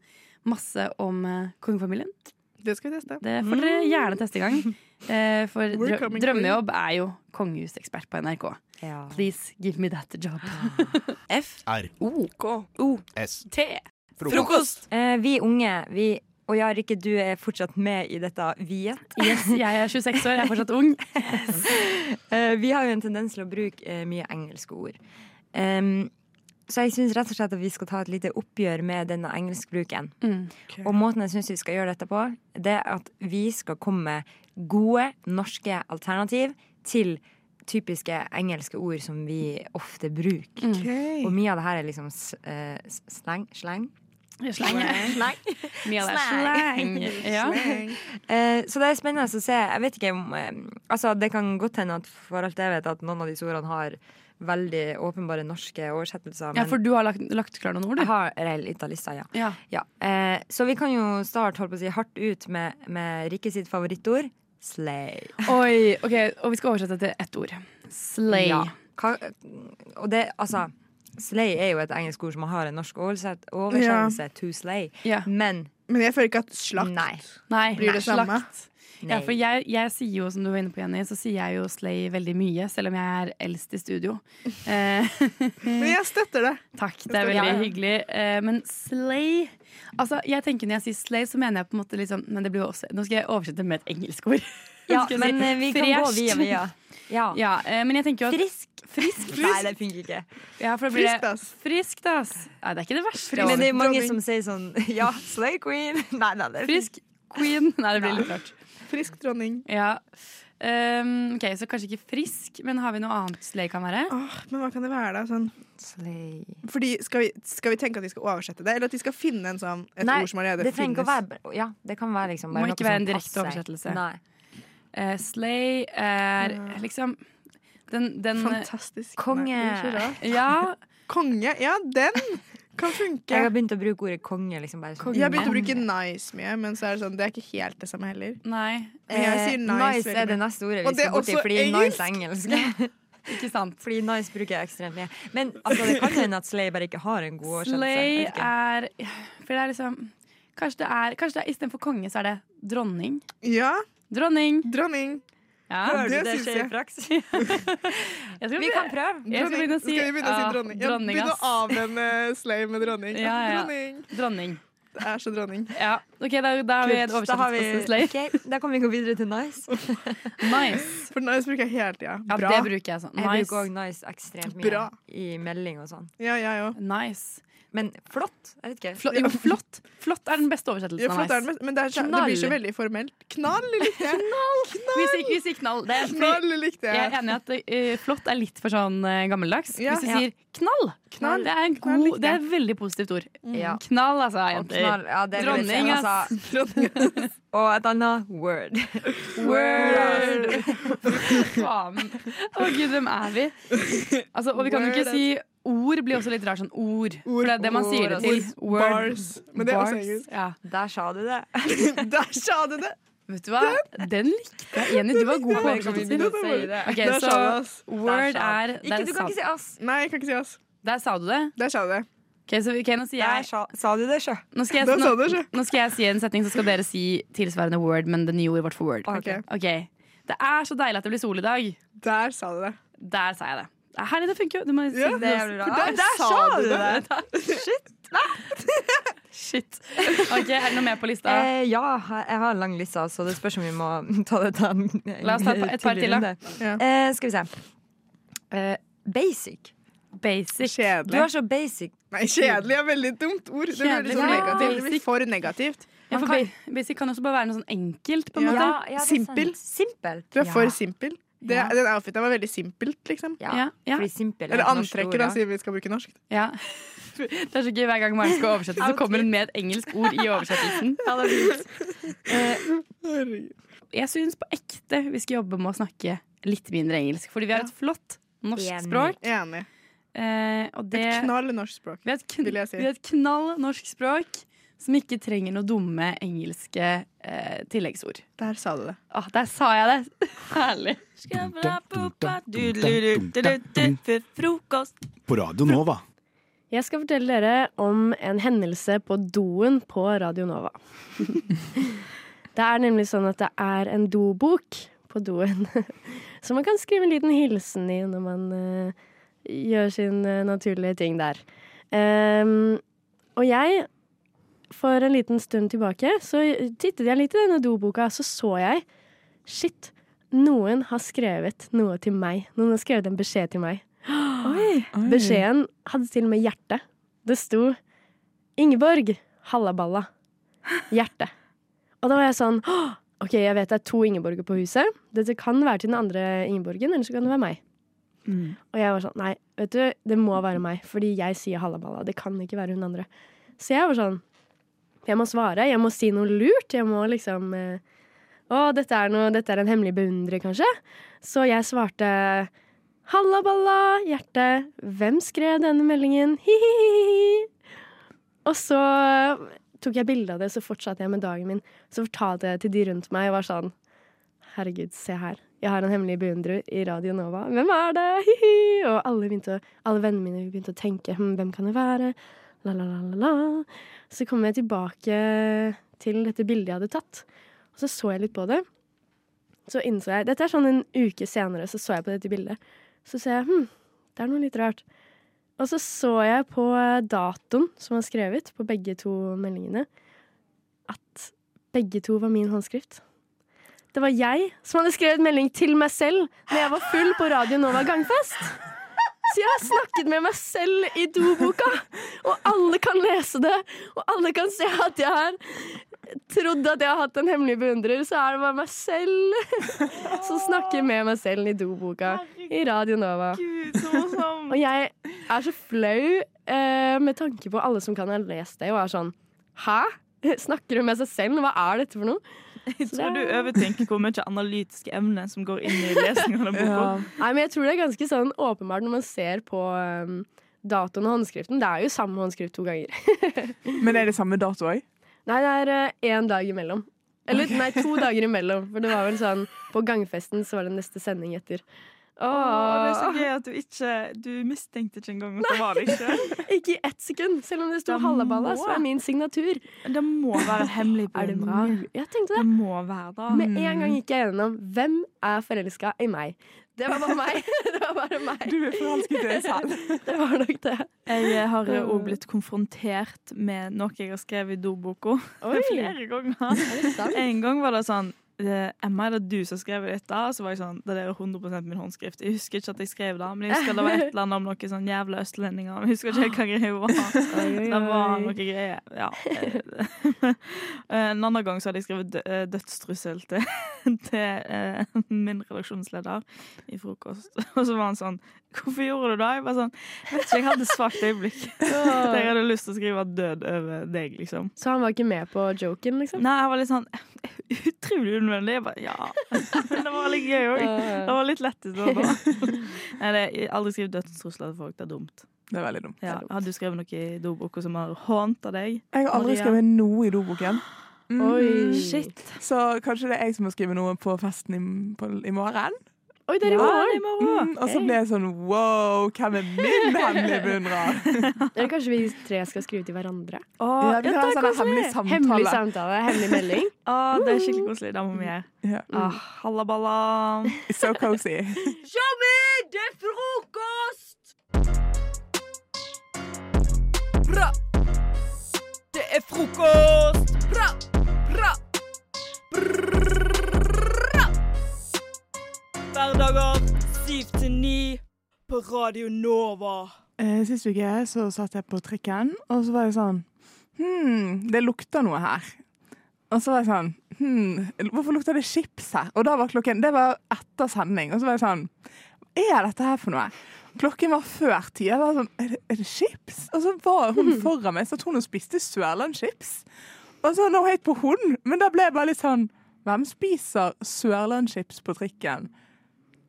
[SPEAKER 3] masse om eh, kongefamilien.
[SPEAKER 20] Det skal vi teste.
[SPEAKER 3] Det får dere gjerne teste en gang. Eh, for
[SPEAKER 20] Mm. We're
[SPEAKER 3] drø
[SPEAKER 20] coming,
[SPEAKER 3] drømmejobb er jo kongehusekspert på NRK. Please give me that job.
[SPEAKER 5] F.
[SPEAKER 23] R.
[SPEAKER 5] O. K. O.
[SPEAKER 23] S.
[SPEAKER 5] T.
[SPEAKER 23] Frokost. Frokost.
[SPEAKER 5] [laughs] Eh, vi unge, vi Og ja, Rikke, du er fortsatt med i dette viet.
[SPEAKER 3] Yes, jeg er 26 år, jeg er fortsatt ung.
[SPEAKER 5] Eh, vi har jo en tendens til å bruke eh, mye engelske ord. Em, så jeg syns rett og slett at vi skal ta et lite oppgjør med denne engelskbruken.
[SPEAKER 3] Mm.
[SPEAKER 5] Og måten jeg syns vi skal gjøre dette på, det er at vi skal komme med gode norske alternativ til typiske engelske ord som vi ofte bruker.
[SPEAKER 3] Mm.
[SPEAKER 20] Ok.
[SPEAKER 5] Og mye av det her er liksom s eh, s- slang. Slang.
[SPEAKER 3] Slang. Mye av det er slang. Ja.
[SPEAKER 5] Eh, Så det er spennende å se. Jeg vet ikke om eh, Altså, det kan godt hende at for alt jeg vet, at noen av disse ordene har veldig åpenbare norske oversettelser.
[SPEAKER 3] Ja, for du har lagt, lagt klar noen ord, du?
[SPEAKER 5] Jeg har reelt lista, ja.
[SPEAKER 3] Ja.
[SPEAKER 5] Eh, så vi kan jo starte holdt på å si, hardt ut med, med Rikke sitt favorittord, slay.
[SPEAKER 3] Oi, ok, og vi skal oversette til ett ord. Slay.
[SPEAKER 5] Ja. Hva, og det, altså Slay er jo et engelsk ord som har en norsk oversett- oversettelse. To slay. Men
[SPEAKER 20] Men jeg føler ikke at slakt
[SPEAKER 3] Nei,
[SPEAKER 20] blir det
[SPEAKER 3] slakt.
[SPEAKER 20] samme.
[SPEAKER 3] Ja, for jeg, jeg sier jo, som du var inne på, Jenny, så sier jeg jo slay veldig mye, selv om jeg er eldst i
[SPEAKER 20] [laughs]
[SPEAKER 3] studio. Men
[SPEAKER 20] jeg støtter det.
[SPEAKER 3] Takk, det er
[SPEAKER 20] Jeg støtter
[SPEAKER 3] veldig
[SPEAKER 20] det.
[SPEAKER 3] hyggelig. Eh, Men slay Altså, jeg tenker når jeg sier slay, så mener jeg på en måte litt sånn Men det blir jo også Nå skal jeg oversette med et engelsk ord.
[SPEAKER 5] Ja,
[SPEAKER 3] [laughs] Skal jeg
[SPEAKER 5] men, eh, vi kan gå
[SPEAKER 3] Fresht.
[SPEAKER 5] via via. Ja.
[SPEAKER 3] Ja, eh, men jeg tenker jo at
[SPEAKER 5] Frisk.
[SPEAKER 3] Frisk.
[SPEAKER 5] Nei, det funker ikke.
[SPEAKER 3] Ja, for da blir
[SPEAKER 5] Friskt,
[SPEAKER 3] det Friskt, ass. Nei, det er ikke det verste. altså.
[SPEAKER 5] Men det er mange som sier sånn [laughs] Ja, slay queen. Nei, nei, det er
[SPEAKER 3] Frisk queen. Nei, det blir litt rart.
[SPEAKER 20] Frisk dronning.
[SPEAKER 3] Ja. Um, ok, Så kanskje ikke frisk, men har vi noe annet slay kan være?
[SPEAKER 20] Åh, men hva kan det være, da? Sånn.
[SPEAKER 5] Slay.
[SPEAKER 20] Fordi skal vi, skal vi tenke at vi skal oversette det, eller at vi skal finne en sånn, et
[SPEAKER 5] Nei,
[SPEAKER 20] ord som allerede
[SPEAKER 5] det trenger ikke å
[SPEAKER 20] finnes?
[SPEAKER 5] være Ja, det kan være liksom
[SPEAKER 3] Må
[SPEAKER 5] bare
[SPEAKER 3] ikke
[SPEAKER 5] noe
[SPEAKER 3] være
[SPEAKER 5] som
[SPEAKER 3] en direkte
[SPEAKER 5] passer.
[SPEAKER 3] oversettelse.
[SPEAKER 5] Nei.
[SPEAKER 3] Eh, slay er liksom den, den
[SPEAKER 20] Fantastisk.
[SPEAKER 5] eh, Konge.
[SPEAKER 3] Ja.
[SPEAKER 20] Konge, ja, den kan funke.
[SPEAKER 5] Jeg har begynt å bruke ordet konge. Liksom bare sånn.
[SPEAKER 20] Jeg har begynt å bruke nice mye, men så er det sånn, det er ikke helt det samme heller.
[SPEAKER 3] Nei.
[SPEAKER 20] Men jeg sier nice
[SPEAKER 5] eh, nice
[SPEAKER 20] veldig
[SPEAKER 5] er det
[SPEAKER 20] mye.
[SPEAKER 5] neste ordet
[SPEAKER 20] Og
[SPEAKER 5] vi
[SPEAKER 20] det er
[SPEAKER 5] skal borti,
[SPEAKER 20] også
[SPEAKER 5] fordi nice er engelsk.
[SPEAKER 3] Ikke sant?
[SPEAKER 5] [laughs] Fordi nice bruker jeg ekstremt mye. Men altså, det kan hende at slay bare ikke har en god
[SPEAKER 3] Slay
[SPEAKER 5] oversettelse.
[SPEAKER 3] er For det er liksom Kanskje det er, kanskje det er istedenfor konge, så er det dronning.
[SPEAKER 20] Ja.
[SPEAKER 3] Dronning.
[SPEAKER 20] Dronning.
[SPEAKER 3] Ja.
[SPEAKER 5] Hører du Det det synes skjer i jeg. praksis? Vi kan prøve.
[SPEAKER 3] Jeg skal begynne å si,
[SPEAKER 20] skal vi begynne å si
[SPEAKER 3] ja,
[SPEAKER 20] dronning? Ja, begynne
[SPEAKER 3] ass.
[SPEAKER 20] å avvenne slay med dronning.
[SPEAKER 3] Ja, ja, ja.
[SPEAKER 20] Dronning.
[SPEAKER 3] Dronning.
[SPEAKER 20] Det er så dronning.
[SPEAKER 3] Ja, ok, da, da har vi et
[SPEAKER 20] Kult, da har vi-
[SPEAKER 3] oversettelse til slay.
[SPEAKER 5] Ok, da kan vi gå videre til nice.
[SPEAKER 3] Nice.
[SPEAKER 20] For nice bruker jeg hele tida.
[SPEAKER 3] Ja,
[SPEAKER 20] Bra.
[SPEAKER 3] det bruker
[SPEAKER 20] altså.
[SPEAKER 3] jeg sånn.
[SPEAKER 5] Jeg
[SPEAKER 3] Nice.
[SPEAKER 5] bruker òg nice ekstremt mye
[SPEAKER 20] Bra.
[SPEAKER 5] i melding og sånn.
[SPEAKER 20] Ja, jeg òg.
[SPEAKER 3] Nice.
[SPEAKER 5] Men flott? Jeg vet ikke.
[SPEAKER 3] Flott, jo, flott. Flott er den beste oversettelsen
[SPEAKER 20] Ja, flott er
[SPEAKER 3] av
[SPEAKER 20] det,
[SPEAKER 3] nice.
[SPEAKER 20] men- men det, er så, det blir så veldig formelt. Knall likte jeg.
[SPEAKER 3] Vi sier, vi sier knall. Det er,
[SPEAKER 20] Knall likte jeg.
[SPEAKER 3] jeg er enig i at eh, flott er litt for sånn eh, gammeldags.
[SPEAKER 20] Ja.
[SPEAKER 3] Hvis du
[SPEAKER 20] Ja.
[SPEAKER 3] sier knall,
[SPEAKER 5] Knall.
[SPEAKER 3] det er en god, det er et veldig positivt ord.
[SPEAKER 20] Mm.
[SPEAKER 5] Ja.
[SPEAKER 3] Knall, altså, jenter.
[SPEAKER 5] Knall, ja, det vil jeg si,
[SPEAKER 3] [laughs] Dronning, ass.
[SPEAKER 5] altså. Og et annet word.
[SPEAKER 3] Word! Faen. Å gud, hvem er vi? Altså, og vi kan jo ikke
[SPEAKER 20] Word.
[SPEAKER 3] si ord blir også litt rart. Sånn ord. For det er det man sier det til.
[SPEAKER 20] Ord. Bars. Men det er også engelsk.
[SPEAKER 3] Ja.
[SPEAKER 5] Der sa du det.
[SPEAKER 20] [laughs] Der sa du det!
[SPEAKER 3] Vet du hva? Den likte jeg. Jenny, du
[SPEAKER 20] [laughs]
[SPEAKER 3] var god på oversettelser. Ok,
[SPEAKER 20] Der
[SPEAKER 3] så
[SPEAKER 20] sa du ass.
[SPEAKER 3] word er der sa-
[SPEAKER 5] ass.
[SPEAKER 20] Nei, jeg kan ikke si ass.
[SPEAKER 3] Der sa du det?
[SPEAKER 20] Der sa du det.
[SPEAKER 3] Ok, så, ok, nå sier jeg
[SPEAKER 5] sa, du det, sjø.
[SPEAKER 3] Nå skal, jeg,
[SPEAKER 20] Der sa
[SPEAKER 3] nå,
[SPEAKER 20] du det, sjø.
[SPEAKER 3] nå skal jeg si en setning, så skal dere si tilsvarende word, men det nye ordet vårt for word.
[SPEAKER 20] Ok.
[SPEAKER 3] Ok. Det er så deilig at det blir sol i dag.
[SPEAKER 20] Der sa du det.
[SPEAKER 3] Der sa jeg det. Herlig, det funker jo. Du må si
[SPEAKER 20] Ja, det er jævlig bra. Der sa du det.
[SPEAKER 3] Shit. Ok, Er det noe mer på lista?
[SPEAKER 5] Eh, ja, jeg har en lang liste, så det spørs om vi må [laughs] ta det til en
[SPEAKER 3] La oss ta et par- et par til, da.
[SPEAKER 5] runde. Eh, skal vi se. Eh, basic.
[SPEAKER 3] Basic.
[SPEAKER 20] Kjedelig.
[SPEAKER 5] Du har så basic
[SPEAKER 20] Nei, kjedelig er veldig dumt ord. Det blir,
[SPEAKER 3] Kjedelig,
[SPEAKER 20] liksom
[SPEAKER 3] ja.
[SPEAKER 20] negativt. det blir for negativt.
[SPEAKER 3] Ja, for ba- Basic kan også bare være noe sånn enkelt. på en
[SPEAKER 20] Ja.
[SPEAKER 3] måte
[SPEAKER 20] Ja, ja, det er sant. Simpel.
[SPEAKER 5] Simpelt.
[SPEAKER 20] Du er for
[SPEAKER 3] Ja.
[SPEAKER 20] simpel. Det,
[SPEAKER 3] Ja.
[SPEAKER 20] Den outfiten var veldig simpelt, liksom.
[SPEAKER 3] Ja, ja. fordi
[SPEAKER 5] simpel
[SPEAKER 12] er
[SPEAKER 20] Eller
[SPEAKER 12] et norsk ord,
[SPEAKER 20] antrekket, da,
[SPEAKER 12] ja.
[SPEAKER 20] siden vi skal bruke norsk.
[SPEAKER 3] Ja. Det er så gøy hver gang Maren skal oversette, så kommer hun med et engelsk ord i oversettelsen. Eh, Jeg syns på ekte vi skal jobbe med å snakke litt mindre engelsk, fordi vi har et flott norsk
[SPEAKER 20] Enig.
[SPEAKER 3] språk.
[SPEAKER 20] Enig.
[SPEAKER 3] Eh, og det,
[SPEAKER 20] Et knall norsk språk,
[SPEAKER 3] vi har et, kn
[SPEAKER 20] vil jeg si.
[SPEAKER 3] vi har et knall norsk språk som ikke trenger noe dumme engelske eh, tilleggsord.
[SPEAKER 20] Der sa du det.
[SPEAKER 3] Ah, der sa jeg det! [laughs] Herlig.
[SPEAKER 19] Frokost.
[SPEAKER 8] På Radio Nova.
[SPEAKER 19] Jeg skal fortelle dere om en hendelse på doen på Radio Nova. det er nemlig sånn at det er en dobok på doen, [laughs] så man kan skrive en liten hilsen i når man eh, gjør sin eh, naturlige ting der. Ehm, og jeg, for en liten stund tilbake, så tittet jeg litt i denne doboka, så så jeg Shit, noen har skrevet noe til meg. Noen har skrevet en beskjed til meg. Beskjeden hadde til og med hjerte. Det sto 'Ingeborg hallaballa'. Hjerte. Og da var jeg sånn «Åh, OK, jeg vet det er to Ingeborger på huset. Dette kan være til den andre Ingeborgen, eller så kan det være meg. Og jeg var sånn Nei, vet du, det må være meg, fordi jeg sier hallaballa. Det kan ikke være hun andre. Så jeg var sånn Jeg må svare, jeg må si noe lurt. Jeg må liksom eh, Å, dette er, noe, dette er en hemmelig beundrer, kanskje. Så jeg svarte Halla balla, hjerte. Hvem skrev denne meldingen? Hihihi. Og så tok jeg bilde av det, så fortsatte jeg med dagen min. Så fortalte jeg til de rundt meg og var sånn Herregud, se her. Jeg har en hemmelig beundrer i Radio Nova. Hvem er det? [laughs] Hihi. Og alle, begynte, å- alle vennene mine begynte å tenke hm, hvem kan det være? La, la, la, la, la. Så kom jeg tilbake til dette bildet jeg hadde tatt. Og så så jeg litt på det. Så innså jeg Dette er sånn en uke senere, så så jeg på dette bildet. Så ser jeg hm, det er noe litt rart. Og så så jeg på datoen som var skrevet på begge to meldingene, at begge to var min håndskrift. Det var jeg som hadde skrevet melding til meg selv når jeg var full på Radio Nova gangfest. Så jeg har snakket med meg selv i doboka, og alle kan lese det. Og alle kan se at jeg har trodd at jeg har hatt en hemmelig beundrer, så er det bare meg selv som snakker med meg selv i doboka i Radio Nova. [laughs] Og jeg er så flau eh, med tanke på alle som kan ha lest det, og er sånn Hæ? [laughs] Snakker hun med seg selv? Hva er dette for noe?
[SPEAKER 4] [laughs] Jeg tror du overtenker hvor mye analytiske emner som går inn i lesningen av boka.
[SPEAKER 19] Ja. Nei, men jeg tror det er ganske sånn åpenbart når man ser på um, datoen og håndskriften. Det er jo samme håndskrift to ganger. [laughs]
[SPEAKER 10] Men er det samme dato òg?
[SPEAKER 19] Nei, det er én dag imellom. Eller nei,
[SPEAKER 4] [laughs]
[SPEAKER 19] to dager imellom. For det var vel sånn På gangfesten så var det neste sending etter.
[SPEAKER 4] Åh, det er så
[SPEAKER 19] Åh.
[SPEAKER 4] gøy at du ikke Du mistenkte ikke engang at det var det ikke.
[SPEAKER 19] Ikke i ett sekund. Selv om det sto Hallaballa, så er min signatur.
[SPEAKER 4] Det må være en hemmelig
[SPEAKER 19] Er det
[SPEAKER 4] beundrer.
[SPEAKER 19] mulig? Jeg tenkte det.
[SPEAKER 4] Det må være da.
[SPEAKER 19] Med en gang gikk jeg gjennom Hvem er forelska i meg? Det var bare meg. [laughs] Det var bare meg.
[SPEAKER 10] Du er forelsket i deg selv.
[SPEAKER 19] [laughs] Det var nok det.
[SPEAKER 4] Jeg har òg blitt konfrontert med noe jeg har skrevet i dorboka.
[SPEAKER 19] Oi.
[SPEAKER 4] [laughs] Flere ganger.
[SPEAKER 19] Er det sant?
[SPEAKER 4] En gang var det sånn eh, Emma, er det du som har skrevet dette? Og så var jeg sånn, det der er 100 min håndskrift. Jeg husker ikke at jeg skrev det, men jeg husker det var et eller annet om noen sånn jævla østlendinger. Jeg husker ikke helt hva greia var. [laughs] Det var noe greier. Ja. [laughs] Eh, En annen gang så hadde jeg skrevet dø- eh, dødstrussel til, [laughs] til eh, min redaksjonsleder i frokost. [laughs] Og så var han sånn Hvorfor gjorde du det? Jeg bare sånn Vet ikke, jeg hadde et svakt øyeblikk. [laughs] Der jeg hadde lyst til å skrive død over deg, liksom.
[SPEAKER 19] Så han var ikke med på joken, liksom?
[SPEAKER 4] Nei, jeg var litt sånn [laughs] utrolig unødvendig. Jeg bare, ja. [laughs] Men det var litt gøy òg. Det var litt lett. Det
[SPEAKER 10] [laughs]
[SPEAKER 4] var bra. Nei, det, jeg har aldri skrevet dødstrusler til folk. Det er dumt.
[SPEAKER 10] Det er veldig dumt.
[SPEAKER 4] Ja. Har du skrevet noe i doboka som har hånta deg?
[SPEAKER 10] Jeg har aldri
[SPEAKER 4] Maria?
[SPEAKER 10] skrevet noe i doboken.
[SPEAKER 4] Oi. Mm, Shit.
[SPEAKER 10] Så kanskje det er jeg som må skrive noe på festen i, på, i morgen.
[SPEAKER 19] Oi, det er i
[SPEAKER 10] Ja, det
[SPEAKER 19] morgen.
[SPEAKER 10] er Mm, og så ble jeg sånn wow, hvem er min hemmelige beundrer?
[SPEAKER 19] Eller kanskje vi tre skal skrive til hverandre?
[SPEAKER 10] Ja, vi kan ha en sånn hemmelig samtale.
[SPEAKER 19] Hemmelig samtale, hemmelig melding. Mm.
[SPEAKER 4] Ah, det er skikkelig koselig. Det må vi gjøre. Ah, Halla, balla.
[SPEAKER 10] So cozy.
[SPEAKER 24] Jammen, det er frokost! Bra! Det er frokost! Bra! Bra!
[SPEAKER 2] Hverdager 7 til 9 på Radio Nova.
[SPEAKER 10] Eh, Sist uke så satt jeg på trikken, og så var jeg sånn Hm, det lukter noe her. Og så var jeg sånn Hm, hvorfor lukter det chips her? Og da var klokken Det var etter sending, og så var jeg sånn Er dette her for noe? Klokken var før ti. Jeg var sånn er det, er det chips? Og så var hun foran meg, satt hun og spiste Sørlandschips. Og så no hate på hun, men da ble jeg bare litt sånn Hvem spiser Sørlandschips på trikken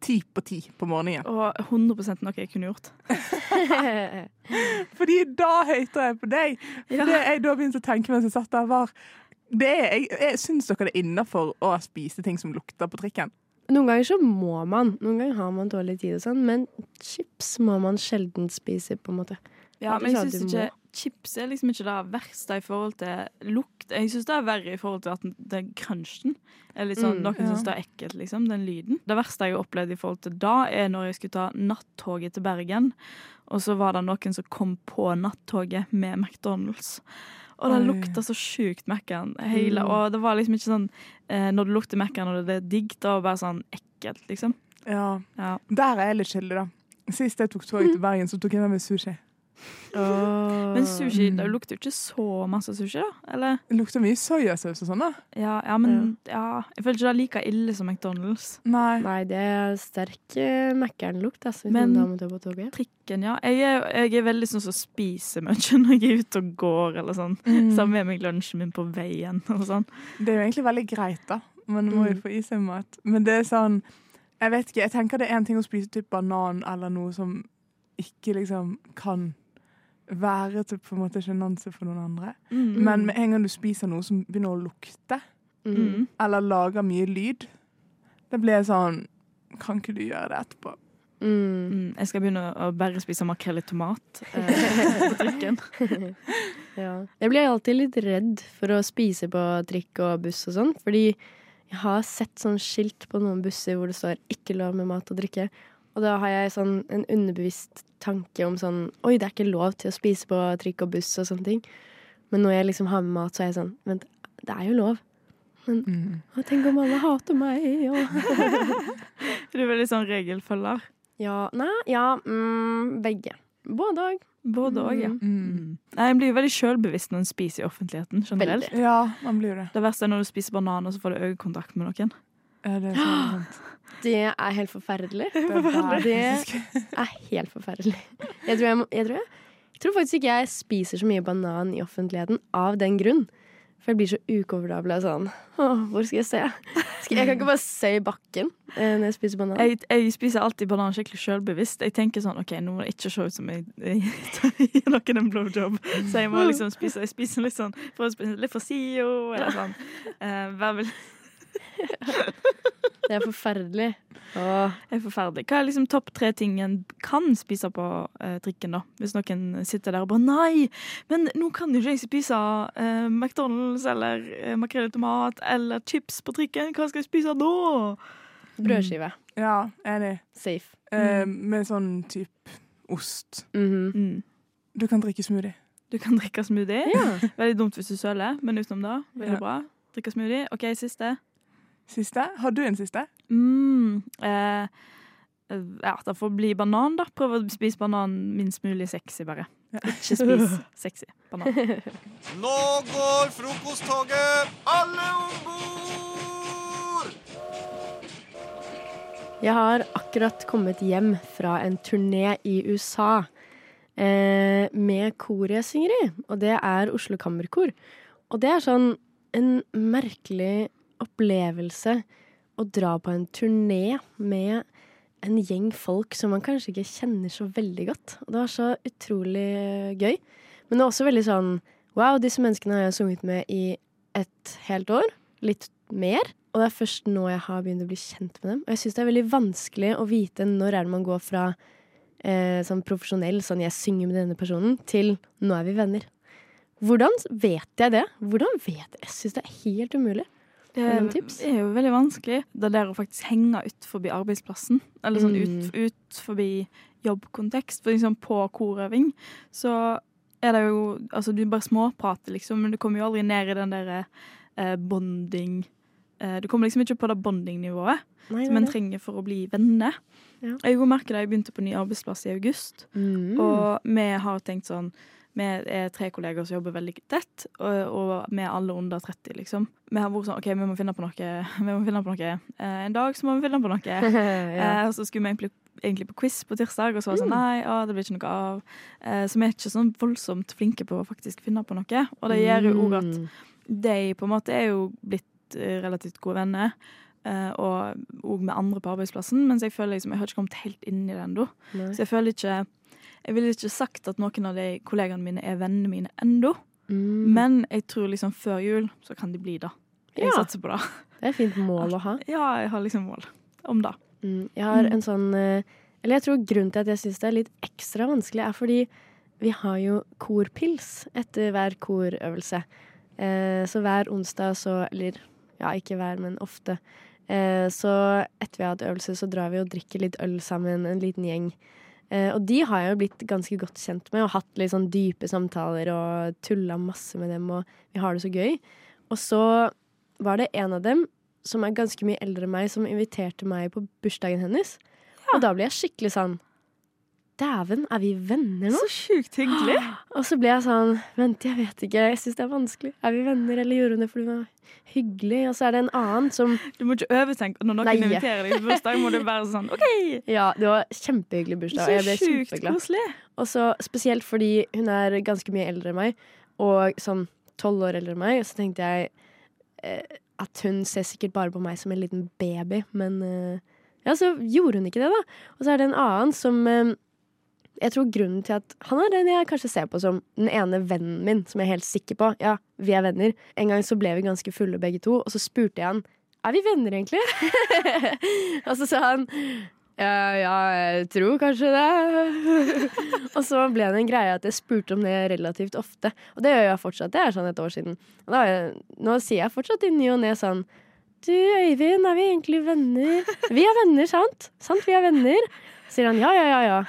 [SPEAKER 10] ti på ti på morgenen?
[SPEAKER 4] Og 100 noe jeg kunne gjort.
[SPEAKER 10] Fordi da høyter jeg på deg. For
[SPEAKER 4] Ja.
[SPEAKER 10] Det jeg da begynte å tenke mens jeg satt der, var det er, jeg, jeg Syns dere det er innafor å spise ting som lukter på trikken?
[SPEAKER 19] [laughs] Noen ganger så må man. Noen ganger har man dårlig tid og sånn, men chips må man sjelden spise, på en måte.
[SPEAKER 4] Ja,
[SPEAKER 19] Aldri
[SPEAKER 4] men jeg
[SPEAKER 19] sånn at
[SPEAKER 4] synes
[SPEAKER 19] du
[SPEAKER 4] ikke
[SPEAKER 19] må.
[SPEAKER 4] Chips er liksom ikke det verste i forhold til lukt. Jeg synes det er verre i forhold til at den crunchen er litt
[SPEAKER 10] Mm.
[SPEAKER 4] sånn Noen
[SPEAKER 10] Ja.
[SPEAKER 4] synes det er ekkelt, liksom. Den lyden. Det verste jeg har opplevd i forhold til da, er når jeg skulle ta nattoget til Bergen, og så var det noen som kom på nattoget med McDonald's. Og det
[SPEAKER 10] Oi.
[SPEAKER 4] lukta så sjukt Mac-en. Hele,
[SPEAKER 10] Mm.
[SPEAKER 4] og det var liksom ikke sånn eh, Når det lukter Mac-en og det er digg, da var det bare sånn ekkelt, liksom.
[SPEAKER 10] Ja. Mm.
[SPEAKER 4] Ja.
[SPEAKER 10] Der er jeg litt skyldig, da. Sist jeg tok toget til Bergen, så tok jeg med meg sushi.
[SPEAKER 4] Men sushi,
[SPEAKER 10] mm.
[SPEAKER 4] det lukter jo ikke så masse sushi, da? Eller?
[SPEAKER 10] Det lukter mye soyasaus og sånn, da.
[SPEAKER 4] Ja, ja men ja. Jeg føler ikke det er like ille som McDonald's.
[SPEAKER 10] Nei.
[SPEAKER 19] det er sterk eh, Mækkern-lukt, altså, hvis
[SPEAKER 4] Men-
[SPEAKER 19] noen damer tar på toget.
[SPEAKER 4] Trikken, ja. Jeg er, jeg er veldig sånn som spiser mye [laughs] når jeg er ute og går, eller sånn.
[SPEAKER 10] Mm.
[SPEAKER 4] Så har jeg med meg lunsjen min på veien og sånn.
[SPEAKER 10] Mm. Det er jo egentlig veldig greit, da. Man må jo få i seg mat. Men det er sånn Jeg vet ikke, jeg tenker det er en ting å spise typ banan eller noe som ikke liksom kan være til på en måte sjenanse for noen andre.
[SPEAKER 4] Mm.
[SPEAKER 10] Men med en gang du spiser noe som begynner å lukte,
[SPEAKER 4] Mm.
[SPEAKER 10] eller lager mye lyd, det blir sånn Kan ikke du gjøre det etterpå?
[SPEAKER 4] Mm. Jeg skal begynne å bare spise makrell i tomat eh, på trikken.
[SPEAKER 19] ja. Jeg blir alltid litt redd for å spise på trikk og buss og sånn, fordi jeg har sett sånn skilt på noen busser hvor det står 'ikke lov med mat og drikke', og da har jeg sånn en underbevisst tanke om sånn 'oi, det er ikke lov til å spise på trikk og buss' og sånne ting. Men når jeg liksom har med mat, så er jeg sånn 'vent, det er jo lov'. Men å, tenk om alle hater meg, og
[SPEAKER 4] Du er veldig sånn regelfølger.
[SPEAKER 19] Ja. Nei, ja. Mm, begge. Både òg.
[SPEAKER 4] Både òg, ja.
[SPEAKER 19] Mm.
[SPEAKER 4] Nei, En blir jo veldig sjølbevisst når en spiser i offentligheten. generelt.
[SPEAKER 19] Veldig.
[SPEAKER 10] Ja, man blir jo det.
[SPEAKER 4] Det verste er når du spiser banan, og så får du øyekontakt med noen.
[SPEAKER 10] det [gasps]
[SPEAKER 19] Det er helt forferdelig. Det
[SPEAKER 4] er forferdelig.
[SPEAKER 19] er helt forferdelig. Jeg tror, jeg, må, jeg, tror jeg, jeg tror faktisk ikke jeg spiser så mye banan i offentligheten av den grunn. For jeg blir så ukomfortabel og sånn Åh, hvor skal jeg se? Skal, jeg kan ikke bare se i bakken eh, når jeg spiser banan.
[SPEAKER 4] Jeg, jeg spiser alltid banan skikkelig sjølbevisst. Jeg tenker sånn OK, nå må det ikke se ut som jeg, jeg gir noen en blowjob. Så jeg må liksom spise jeg spiser litt sånn for å spise litt for sida, eller sånn. Eh, vær vel-
[SPEAKER 19] Det er forferdelig.
[SPEAKER 4] Det er forferdelig. Hva er liksom topp tre ting en kan spise på eh, trikken, da? Hvis noen sitter der og bare Nei, men nå kan jo ikke jeg spise eh, McDonald's eller eh, makrell i tomat eller chips på trikken. Hva skal jeg spise da?
[SPEAKER 19] Brødskive.
[SPEAKER 10] Ja, enig.
[SPEAKER 19] Safe.
[SPEAKER 10] Eh, med sånn type ost.
[SPEAKER 19] Mhm.
[SPEAKER 4] Mm.
[SPEAKER 10] Du kan drikke smoothie.
[SPEAKER 4] Du kan drikke smoothie. Veldig dumt hvis du søler, men utenom det, veldig
[SPEAKER 10] Ja.
[SPEAKER 4] bra. Drikke smoothie. OK, siste.
[SPEAKER 10] Siste? Har du en siste?
[SPEAKER 4] Mm, eh, ja, det får bli banan, da. Prøv å spise banan minst mulig sexy, bare. Ikke spis sexy banan.
[SPEAKER 1] Nå går frokosttoget! Alle om bord!
[SPEAKER 19] Jeg har akkurat kommet hjem fra en turné i USA eh, med koret jeg synger i, og det er Oslo Kammerkor. Og det er sånn en merkelig opplevelse å dra på en turné med en gjeng folk som man kanskje ikke kjenner så veldig godt. Og det var så utrolig eh, gøy. Men det er også veldig sånn Wow, disse menneskene har jeg sunget med i et helt år. Litt mer. Og det er først nå jeg har begynt å bli kjent med dem. Og jeg syns det er veldig vanskelig å vite når er det man går fra eh, sånn profesjonell, sånn jeg synger med denne personen, til nå er vi venner. Hvordan vet jeg det? Hvordan vet jeg? Jeg syns det er helt umulig.
[SPEAKER 4] Eh, Det
[SPEAKER 19] Har du noen tips?
[SPEAKER 4] er jo veldig vanskelig. Det der å faktisk henge ut forbi arbeidsplassen, eller sånn ut,
[SPEAKER 19] Mm.
[SPEAKER 4] ut forbi jobbkontekst, for liksom på korøving, så er det jo Altså, du bare småprater, liksom, men du kommer jo aldri ned i den derre eh, bonding eh, Du kommer liksom ikke på det bonding-nivået
[SPEAKER 19] Nei,
[SPEAKER 4] som
[SPEAKER 19] nei,
[SPEAKER 4] en
[SPEAKER 19] nei.
[SPEAKER 4] trenger for å bli venner.
[SPEAKER 19] Ja.
[SPEAKER 4] Jeg jo merker det, jeg begynte på ny arbeidsplass i august,
[SPEAKER 3] Mm.
[SPEAKER 19] Mm.
[SPEAKER 4] og vi har tenkt sånn vi er tre kolleger som jobber veldig tett, og, og vi er alle under 30, liksom. Vi har vært sånn OK, vi må finne på noe. [laughs] Vi må finne på noe. Eh, en dag så må vi finne på noe.
[SPEAKER 19] Ja.
[SPEAKER 4] eh, og så skulle vi egentlig, egentlig på quiz på tirsdag, og så var det sånn
[SPEAKER 19] Mm.
[SPEAKER 4] nei, å, det blir ikke noe av. Eh, så vi er ikke sånn voldsomt flinke på å faktisk finne på noe. Og det gjør jo òg at
[SPEAKER 19] Mm.
[SPEAKER 4] de på en måte er jo blitt eh, relativt gode venner. eh, og òg med andre på arbeidsplassen, mens jeg føler liksom, jeg har ikke kommet helt inn i det ennå.
[SPEAKER 19] Nei.
[SPEAKER 4] Så jeg føler ikke Jeg ville ikke sagt at noen av de kollegaene mine er vennene mine ennå.
[SPEAKER 19] Mm.
[SPEAKER 4] Men jeg tror liksom før jul så kan de bli det. Jeg
[SPEAKER 19] Ja.
[SPEAKER 4] satser på det. [laughs]
[SPEAKER 19] Det er et fint mål å ha.
[SPEAKER 4] Ja, jeg har liksom mål om det.
[SPEAKER 19] Mm, jeg har
[SPEAKER 4] Mm.
[SPEAKER 19] en sånn eh, Eller jeg tror grunnen til at jeg syns det er litt ekstra vanskelig, er fordi vi har jo korpils etter hver korøvelse. Eh, så hver onsdag så Eller ja, ikke hver, men ofte. Eh, så etter vi har hatt øvelse, så drar vi og drikker litt øl sammen, en liten gjeng. Eh, og de har jeg jo blitt ganske godt kjent med, og hatt litt sånn dype samtaler og tulla masse med dem, og vi har det så gøy. Og så var det en av dem som er ganske mye eldre enn meg, som inviterte meg på bursdagen hennes. Og da ble jeg skikkelig sånn Dæven, er vi venner nå? Så
[SPEAKER 4] sjukt hyggelig.
[SPEAKER 19] Og så ble jeg sånn Vent, jeg vet ikke. Jeg syns det er vanskelig. Er vi venner, eller gjorde hun det fordi hun var hyggelig? Og så er det en annen som
[SPEAKER 4] Du må ikke overtenke når noen inviterer deg på bursdag, må du være sånn OK!
[SPEAKER 19] Ja, det var kjempehyggelig bursdag. og
[SPEAKER 4] Så
[SPEAKER 19] jeg ble
[SPEAKER 4] sjukt
[SPEAKER 19] kjempeglad.
[SPEAKER 4] koselig.
[SPEAKER 19] Og så spesielt fordi hun er ganske mye eldre enn meg, og sånn tolv år eldre enn meg, og så tenkte jeg eh, at hun ser sikkert bare på meg som en liten baby, men eh, Ja, så gjorde hun ikke det, da. Og så er det en annen som eh, Jeg tror grunnen til at han er den jeg kanskje ser på som den ene vennen min, som jeg er helt sikker på. Ja, vi er venner. En gang så ble vi ganske fulle begge to, og så spurte jeg han er vi venner, egentlig? [laughs] og så sa han ja, ja, jeg tror kanskje det. og så ble det en greie at jeg spurte om det relativt ofte. Og det gjør jeg fortsatt. Det er sånn et år siden. Og da, har jeg- nå sier jeg fortsatt i ny og ne sånn Du, Øyvind, er vi egentlig venner? Vi er venner, sant? Sant, vi er venner? Sier han ja, ja, ja, ja.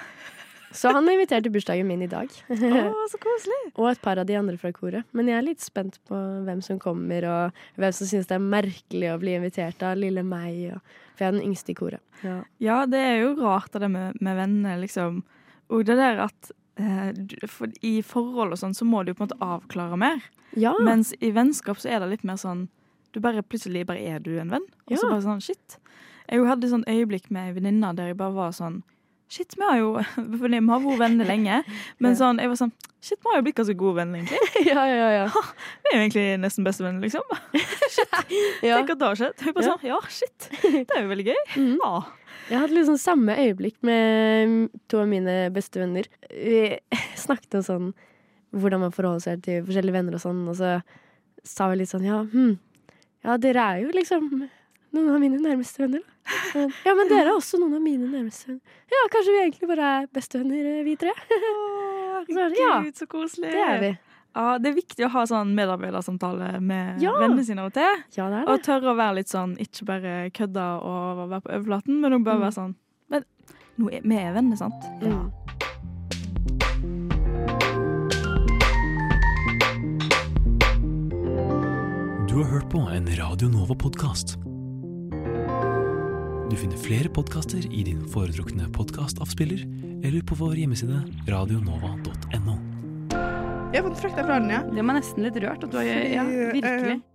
[SPEAKER 19] Så han er invitert til bursdagen min i dag.
[SPEAKER 4] Å, så koselig.
[SPEAKER 19] [laughs] og et par av de andre fra koret. Men jeg er litt spent på hvem som kommer, og hvem som syns det er merkelig å bli invitert av lille meg. Og, for jeg er den yngste i koret. Ja.
[SPEAKER 4] Ja, det er jo rart det der med, med venner, liksom. Og det der at eh, du- for, i forhold og sånn, så må du jo på en måte avklare mer.
[SPEAKER 19] Ja.
[SPEAKER 4] Mens i vennskap så er det litt mer sånn Du bare plutselig bare er du en venn. Og så
[SPEAKER 19] Ja.
[SPEAKER 4] bare sånn shit. Jeg hadde sånn øyeblikk med ei venninne der jeg bare var sånn Shit, vi har jo [laughs] fordi vi har vært venner lenge,
[SPEAKER 19] [laughs]
[SPEAKER 4] men sånn, jeg var sånn Shit, vi har jo blitt ganske gode venner, egentlig.
[SPEAKER 19] ja, ja, ja.
[SPEAKER 4] Vi er jo egentlig nesten bestevenner,
[SPEAKER 19] [laughs]
[SPEAKER 4] liksom. Shit. Tenk at det har skjedd. Jeg bare
[SPEAKER 19] Ja. Mm.
[SPEAKER 4] sånn, ja, shit. Det er jo veldig gøy. Ja.
[SPEAKER 19] Jeg hadde liksom samme øyeblikk med to av mine bestevenner. Vi [laughs] snakket om sånn hvordan man forholder seg til forskjellige venner og sånn, og så sa vi litt sånn ja, hm, ja, dere er jo liksom noen av mine nærmeste venner, da. Men, ja, men dere er også noen av mine nærmeste venner. Ja, kanskje vi egentlig bare er bestevenner, eh, vi tre. Så er det, ja,
[SPEAKER 4] Gud, så koselig.
[SPEAKER 19] det er vi.
[SPEAKER 4] Ja, det er viktig å ha sånn medarbeidersamtale med
[SPEAKER 19] Ja.
[SPEAKER 4] vennene sine av og til.
[SPEAKER 19] Ja, det er
[SPEAKER 4] Og tørre å være litt sånn, ikke bare kødde og være på overflaten, men også bare
[SPEAKER 19] Mm.
[SPEAKER 4] være sånn Men nå er, vi er venner, sant?
[SPEAKER 19] Ja.
[SPEAKER 9] Du har hørt på en Radio Nova-podkast. Du finner flere podkaster i din foretrukne podkastavspiller eller på vår hjemmeside radionova.no.
[SPEAKER 20] Jeg har fått frakta fra Arne.
[SPEAKER 3] Det var nesten litt rørt at du har
[SPEAKER 20] Fordi,
[SPEAKER 3] Ja,
[SPEAKER 20] eh,
[SPEAKER 3] virkelig.